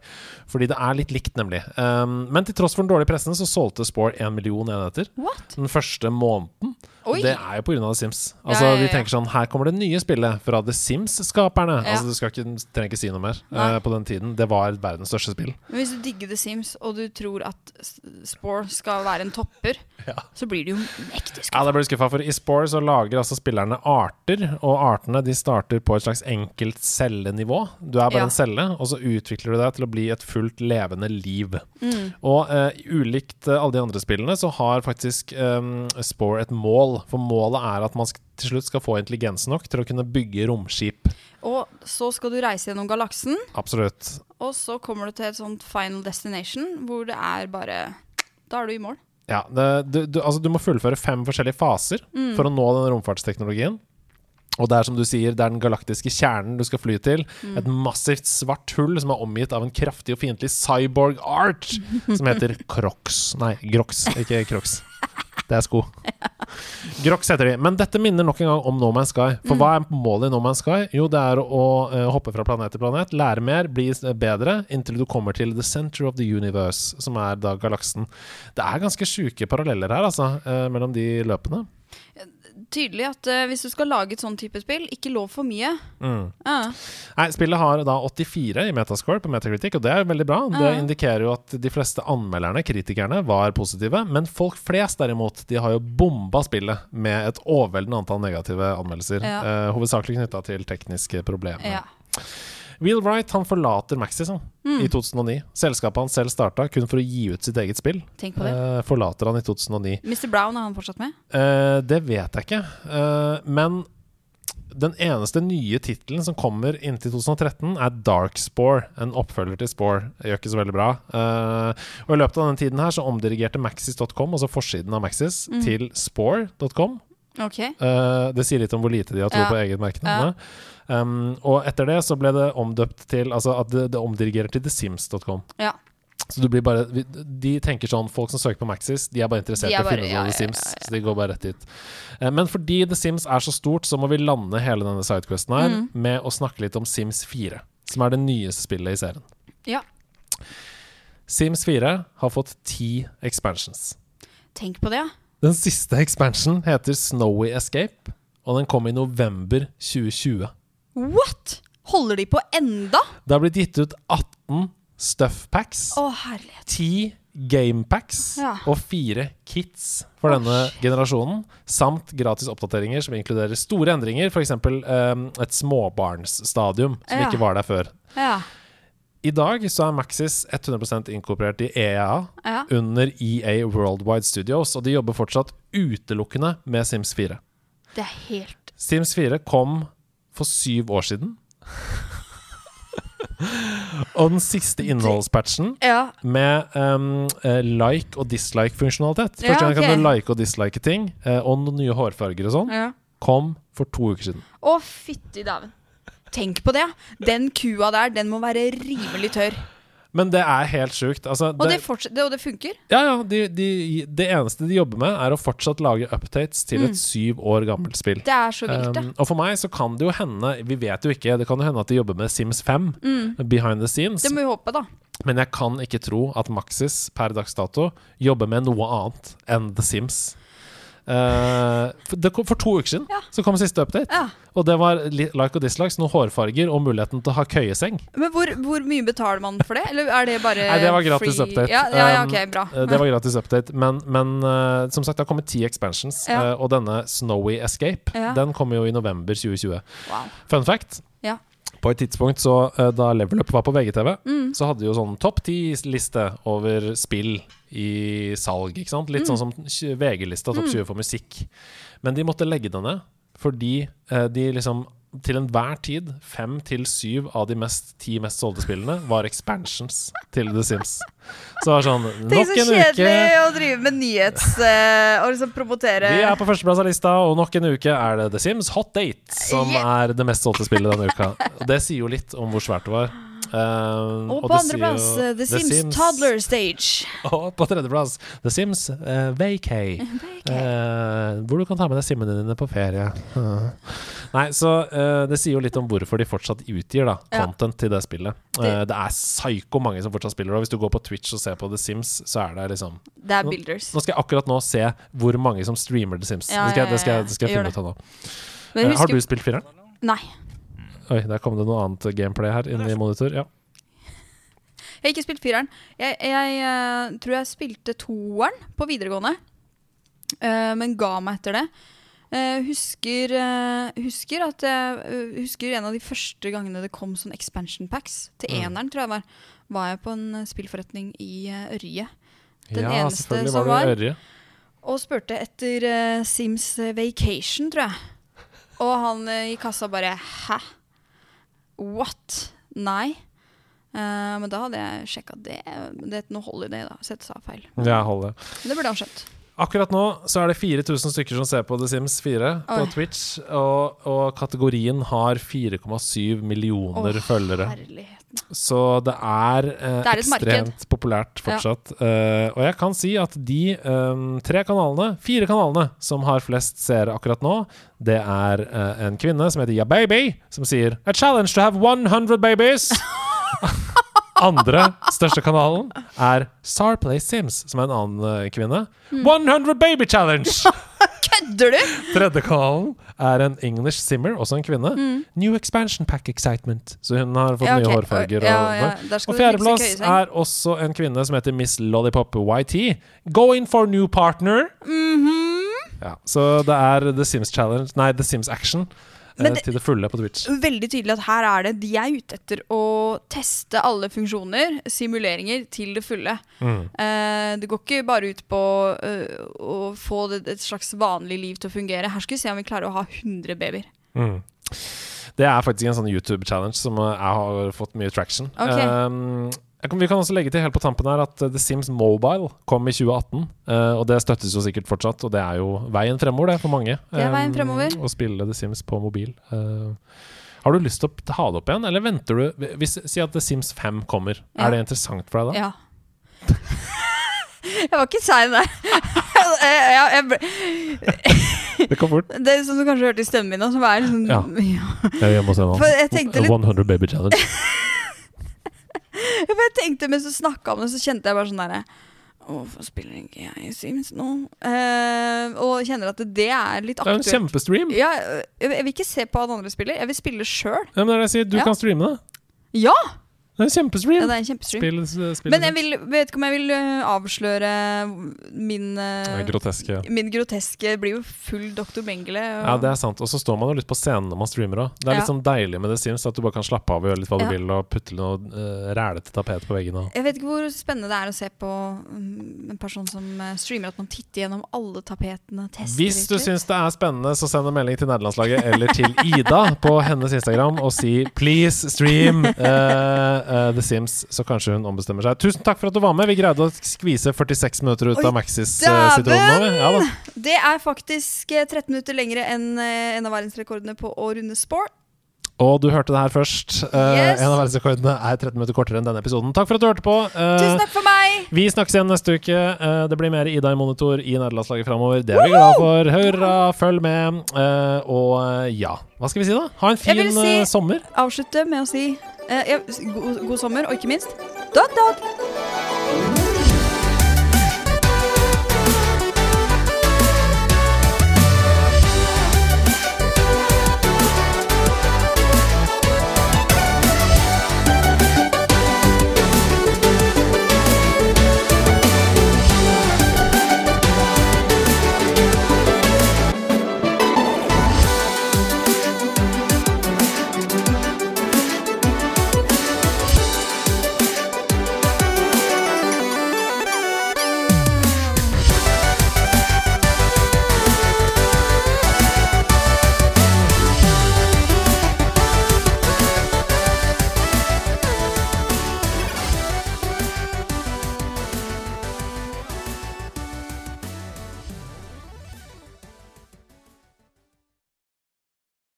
Speaker 1: fordi det er litt likt, nemlig. Um, Ehm, men til tross for den dårlige pressen så solgte Spore én million enheter
Speaker 2: What?
Speaker 1: den første måneden.
Speaker 2: Oi!
Speaker 1: Det er jo pga. The Sims. Altså,
Speaker 2: ja, ja,
Speaker 1: De
Speaker 2: ja.
Speaker 1: tenker sånn Her kommer det nye spillet fra The Sims-skaperne.
Speaker 2: Ja.
Speaker 1: Altså, Du skal ikke, trenger ikke si noe mer
Speaker 2: Nei.
Speaker 1: eh, på den tiden. Det var verdens største spill.
Speaker 2: Men hvis du digger The Sims, og du tror at S- Spore skal være en topper,
Speaker 1: Ja.
Speaker 2: så blir du jo mektig
Speaker 1: Ja,
Speaker 2: skuffet.
Speaker 1: da blir du skuffa, for i Spore så lager altså spillerne arter, og artene de starter på et slags enkelt cellenivå. Du er bare
Speaker 2: Ja.
Speaker 1: en celle, og så utvikler du deg til å bli et fullt levende liv. Og eh, ulikt eh, alle de andre spillene så har faktisk eh, Spore et mål, for målet er at man sk til slutt skal få intelligens nok til å kunne bygge romskip.
Speaker 2: Og så skal du reise gjennom galaksen,
Speaker 1: Absolutt.
Speaker 2: og så kommer du til et sånt final destination hvor det er bare Da er du i mål.
Speaker 1: Ja, det, du, du, altså du må fullføre fem forskjellige faser for å nå den romfartsteknologien. Og det er som du sier, det er den galaktiske kjernen du skal fly til. Et massivt svart hull som er omgitt av en kraftig og fiendtlig cyborg art som heter Crocs. Nei, Grox, ikke Crocs. Det er sko. Grox heter de. Men dette minner nok en gang om No Man's Sky. For hva er målet i No Man's Sky? Jo, det er å, eh, hoppe fra planet til planet, lære mer, bli s- bedre, inntil du kommer til the center of the universe, som er da galaksen. Det er ganske sjuke paralleller her, altså, eh, mellom de løpene.
Speaker 2: Tydelig at eh, hvis du skal lage et sånn type spill, ikke lov for mye.
Speaker 1: Mm.
Speaker 2: Ja.
Speaker 1: Nei, spillet har da 84 i metascore på Metacritic, og det er veldig bra. Det
Speaker 2: Ja.
Speaker 1: indikerer jo at de fleste anmelderne, kritikerne, var positive. Men folk flest, derimot, de har jo bomba spillet med et overveldende antall negative anmeldelser.
Speaker 2: Ja.
Speaker 1: eh, hovedsakelig knytta til tekniske problemer.
Speaker 2: ja. Mm.
Speaker 1: Will Wright han forlater Maxison i 2009. Selskapet han selv starta kun for å gi ut sitt eget spill.
Speaker 2: Tenk på det.
Speaker 1: Eh, forlater han i 2009.
Speaker 2: Mr. Brown er han fortsatt med?
Speaker 1: Eh, det vet jeg ikke. Eh, men den eneste nye tittelen som kommer inntil 2013, er Dark Spore. En oppfølger til Spore. Det gjør ikke så veldig bra. Eh, og I løpet av denne tiden her så omdirigerte Maxis.com, altså forsiden av Maxis,
Speaker 2: Mm.
Speaker 1: til Spore.com.
Speaker 2: Ok.
Speaker 1: Eh, det sier litt om hvor lite de har tro
Speaker 2: Ja.
Speaker 1: på eget merkenavn. Um, og etter det så ble det omdøpt til Altså at det, det omdirigerer til TheSims.com.
Speaker 2: Ja.
Speaker 1: Så du blir bare vi- De tenker sånn Folk som søker på Maxis, de er bare interessert
Speaker 2: De
Speaker 1: i å
Speaker 2: er bare-
Speaker 1: finne ut
Speaker 2: ja,
Speaker 1: av The
Speaker 2: ja, ja,
Speaker 1: Sims. Så de går bare rett dit. Eh, Men fordi The Sims er så stort, så må vi lande hele denne sidequesten her
Speaker 2: Mm.
Speaker 1: med å snakke litt om Sims 4, som er det nyeste spillet i serien.
Speaker 2: Ja.
Speaker 1: Sims 4 har fått ti expansions.
Speaker 2: Tenk på det, ja.
Speaker 1: Den siste expansion heter Snowy Escape, og den kom i november 2020.
Speaker 2: What?! Holder de på enda?
Speaker 1: Det har blitt gitt ut 18 stuff packs,
Speaker 2: Å, herlighet.
Speaker 1: 10 game packs
Speaker 2: Ja.
Speaker 1: og 4 kits for
Speaker 2: Å,
Speaker 1: denne generasjonen, samt gratis oppdateringer som inkluderer store endringer, f.eks. Um, et småbarnsstadium som
Speaker 2: Ja.
Speaker 1: ikke var der før.
Speaker 2: Ja.
Speaker 1: I dag så er Maxis 100 inkorporert i EA
Speaker 2: Ja.
Speaker 1: under EA Worldwide Studios, og de jobber fortsatt utelukkende med Sims 4.
Speaker 2: Det er helt
Speaker 1: Sims 4 kom for syv år siden. og den siste innholdspatchen
Speaker 2: Ja.
Speaker 1: med um, eh, like og dislike-funksjonalitet.
Speaker 2: Ja,
Speaker 1: Første gang
Speaker 2: ok.
Speaker 1: kan du like og dislike ting, eh, og noen nye hårfarger og sånn,
Speaker 2: ja.
Speaker 1: kom for to uker siden.
Speaker 2: Å, fytti dæven. Tenk på det. Den kua der, den må være rimelig tørr.
Speaker 1: Men det er helt sjukt. Altså,
Speaker 2: Og det,
Speaker 1: det,
Speaker 2: fortsetter- det, og det funker.
Speaker 1: ja, ja, de, de, det eneste de jobber med, er å fortsatt lage updates til et syv år gammelt spill.
Speaker 2: Mm. Det er så vilt, det.
Speaker 1: Um, og for meg så kan det jo hende, vi vet jo ikke, det kan jo hende at de jobber med Sims 5 behind the scenes.
Speaker 2: Mm. Det må vi håpe, da.
Speaker 1: Men jeg kan ikke tro at Maxis per dags dato jobber med noe annet enn The Sims. Eh, for, det kom, for to uker siden
Speaker 2: Ja.
Speaker 1: Så kom siste update.
Speaker 2: Ja.
Speaker 1: Og det var li- like og dislikes, noen hårfarger og muligheten til å ha køyeseng.
Speaker 2: Men hvor, hvor mye betaler man for det? Eller er det bare
Speaker 1: Nei, det var gratis
Speaker 2: Eh, free?
Speaker 1: update.
Speaker 2: Ja, ja, ja,
Speaker 1: Um,
Speaker 2: ok, bra.
Speaker 1: Eh, det var gratis update, men, men eh, som sagt, det har kommet ti expansions. eh,
Speaker 2: Ja.
Speaker 1: og denne Snowy Escape
Speaker 2: Ja.
Speaker 1: Den kommer jo i november 2020.
Speaker 2: Wow.
Speaker 1: Fun fact.
Speaker 2: Ja.
Speaker 1: På et tidspunkt så, eh, da Level Up var på VGTV,
Speaker 2: Mm.
Speaker 1: så hadde de jo sånn topp ti-liste over spill i salg. ikke sant?
Speaker 2: Mm.
Speaker 1: Litt sånn som tj- VG-lista topp 20 for musikk. Men de måtte legge det ned fordi eh, de liksom til enhver tid fem til syv av de mest, ti mest solgte spillene var expansions til The Sims. Så det var sånn
Speaker 2: Tenk
Speaker 1: Nok
Speaker 2: så
Speaker 1: en uke.
Speaker 2: kjedelig å drive med nyhets... eh, og liksom promotere
Speaker 1: Vi er på førsteplass av lista, og nok en uke er det The Sims Hot Date som
Speaker 2: Yeah.
Speaker 1: er det mest solgte spillet denne uka. Og Det sier jo litt om hvor svært det var. Um, og
Speaker 2: Og på
Speaker 1: det sier jo
Speaker 2: andreplass eh, The, The Sims, Toddler Stage.
Speaker 1: Og på tredjeplass The Sims eh, Vacay. Eh, hvor du kan ta med deg simmene dine på ferie. Eh. Nei, så eh, det sier jo litt om hvorfor de fortsatt utgir da,
Speaker 2: Ja.
Speaker 1: content til det spillet.
Speaker 2: Det-
Speaker 1: Eh, det er psyko mange som fortsatt spiller det. og Hvis du går på Twitch og ser på The Sims, så er det liksom
Speaker 2: Det er builders.
Speaker 1: Nå skal jeg akkurat nå se hvor mange som streamer The Sims.
Speaker 2: Ja,
Speaker 1: det skal jeg, det skal
Speaker 2: ja, ja,
Speaker 1: jeg, det skal jeg
Speaker 2: gjør
Speaker 1: finne ut av nå.
Speaker 2: Men
Speaker 1: Eh,
Speaker 2: jeg
Speaker 1: har du
Speaker 2: husker,
Speaker 1: spilt fireren?
Speaker 2: Nei.
Speaker 1: Oi, der kom det noe annet gameplay her inni monitor. Ja.
Speaker 2: Jeg har ikke spilt fireren. Jeg, jeg eh, tror jeg spilte toeren på videregående, eh, men ga meg etter det. Eh, husker, eh, husker at jeg eh, husker en av de første gangene det kom sånn expansion packs. Til
Speaker 1: Mm.
Speaker 2: eneren, tror jeg var, var jeg på en eh, spillforretning i eh, Ørje Den
Speaker 1: ja,
Speaker 2: eneste
Speaker 1: selvfølgelig
Speaker 2: som
Speaker 1: var det
Speaker 2: var-
Speaker 1: Ørje.
Speaker 2: og spurte etter eh, Sims eh, Vacation, tror jeg. Og han eh, i kassa bare Hæ? What? Nei. Eh, men da hadde jeg sjekka det. Det het noe Holiday, da. Så jeg sa feil.
Speaker 1: Ja, hold det.
Speaker 2: Men det burde han skjønt.
Speaker 1: Akkurat nå så er det 4000 stykker som ser på The Sims 4 på
Speaker 2: Oi.
Speaker 1: Twitch, og, og kategorien har 4,7 millioner følgere.
Speaker 2: herligheten.
Speaker 1: Så det er, eh,
Speaker 2: Det er et
Speaker 1: ekstremt populært
Speaker 2: Ja.
Speaker 1: fortsatt. Eh, og jeg kan si at de eh, tre kanalene, fire kanalene, som har flest seere akkurat nå, det er eh, en kvinne som heter Yababy, som sier A challenge to have 100 babies! Andre største kanalen er Sar Play Sims, som er en annen eh, kvinne.
Speaker 2: Mm.
Speaker 1: 100 baby challenge!
Speaker 2: Kødder du?!
Speaker 1: Tredje kanalen er en English Simmer, også en kvinne. New expansion pack excitement. Så hun har fått nye hårfarger. Og,
Speaker 2: Mm. ja, ja. Der
Speaker 1: og
Speaker 2: skal du fikse
Speaker 1: fjerdeplass
Speaker 2: køyeseng.
Speaker 1: er også en kvinne som heter Miss Lollipop YT. Go in for new partner.
Speaker 2: Mhm.
Speaker 1: Ja, så det er The Sims Challenge Nei, The Sims Action eh,
Speaker 2: Men det-
Speaker 1: til det fulle på Twitch.
Speaker 2: Veldig tydelig at her er det de er ute etter å teste alle funksjoner, simuleringer, til det fulle.
Speaker 1: Mm.
Speaker 2: Eh, det går ikke bare ut på eh, å få det, et slags vanlig liv til å fungere. Her skal vi se om vi klarer å ha 100 babyer.
Speaker 1: Mm. Det er faktisk en sånn YouTube-challenge som eh, jeg har fått mye traction.
Speaker 2: Ok.
Speaker 1: Um, jeg kan, vi kan også legge til helt på tampen her at eh, The Sims Mobile kom i 2018. eh, og det støttes jo sikkert fortsatt, og det er jo veien fremover det for mange.
Speaker 2: Det er veien
Speaker 1: um,
Speaker 2: fremover.
Speaker 1: Å spille The Sims på mobil. Eh, har du lyst til å ta det opp igjen, eller venter du hvis, Si at The Sims 5 kommer.
Speaker 2: Ja.
Speaker 1: Er det interessant for deg da?
Speaker 2: Ja. jeg var ikke sein der. jeg, jeg, jeg ble,
Speaker 1: Det kom fort.
Speaker 2: det er sånn du kanskje hørte i stemmen min nå, som er liksom
Speaker 1: Ja. Jeg må se nå.
Speaker 2: For jeg tenkte litt
Speaker 1: 100 baby challenge.
Speaker 2: For jeg tenkte mens du snakka om det, så kjente jeg bare sånn derre Hvorfor spiller ikke jeg Sims nå? Eh, og kjenner at det er litt
Speaker 1: Det er jo en
Speaker 2: aktuelt.
Speaker 1: kjempestream.
Speaker 2: Ja, jeg, jeg vil ikke se på at andre spiller, jeg vil spille sjøl.
Speaker 1: Ja, men det er det jeg sier. Du
Speaker 2: Ja.
Speaker 1: kan streame det.
Speaker 2: Ja!
Speaker 1: Det er en
Speaker 2: ja!
Speaker 1: kjempestream.
Speaker 2: Det er en kjempestream.
Speaker 1: Spill, spill
Speaker 2: Men jeg vil, vet ikke om jeg vil øh, avsløre min, øh,
Speaker 1: Groteske.
Speaker 2: min groteske Blir jo full Dr. Mengele. og-
Speaker 1: Ja, det er sant. Og så står man jo litt på scenen når man streamer òg. Det er
Speaker 2: Ja.
Speaker 1: litt sånn deilig med The Sims at du bare kan slappe av og gjøre litt hva du
Speaker 2: Ja.
Speaker 1: vil, og putte noe uh, rælete tapet på veggen og
Speaker 2: Jeg vet ikke hvor spennende det er å se på mm, en person som øh, streamer at man titter gjennom alle tapetene. Tester
Speaker 1: Hvis du
Speaker 2: litt.
Speaker 1: syns det er spennende, så send en melding til nederlandslaget eller til Ida på hennes Instagram og si 'please stream eh, eh, The Sims', så kanskje hun ombestemmer seg. Tusen takk for at du var med. Vi greide å skvise 46 minutter ut
Speaker 2: Oi,
Speaker 1: av Maxis uh, sitt rom nå. vi. Ja, da.
Speaker 2: Det er faktisk øh, 13 minutter lengre enn øh, en av verdensrekordene på å runde sport.
Speaker 1: Og du hørte det her først. Eh,
Speaker 2: Yes.
Speaker 1: En av verdensrekordene er 13 minutter kortere enn denne episoden. Takk for at du hørte på. Eh,
Speaker 2: Tusen takk for meg!
Speaker 1: Vi snakkes igjen neste uke. Eh, Det blir mer Ida i monitor i nederlandslaget framover. Det er vi glad for. Hurra, følg med. Eh, Og eh, ja, hva skal vi si da? Ha en
Speaker 2: Jeg
Speaker 1: fin
Speaker 2: vil si-
Speaker 1: eh, sommer.
Speaker 2: eh, Avslutte med å si øh, ja, god, god sommer, og ikke minst dot, dot.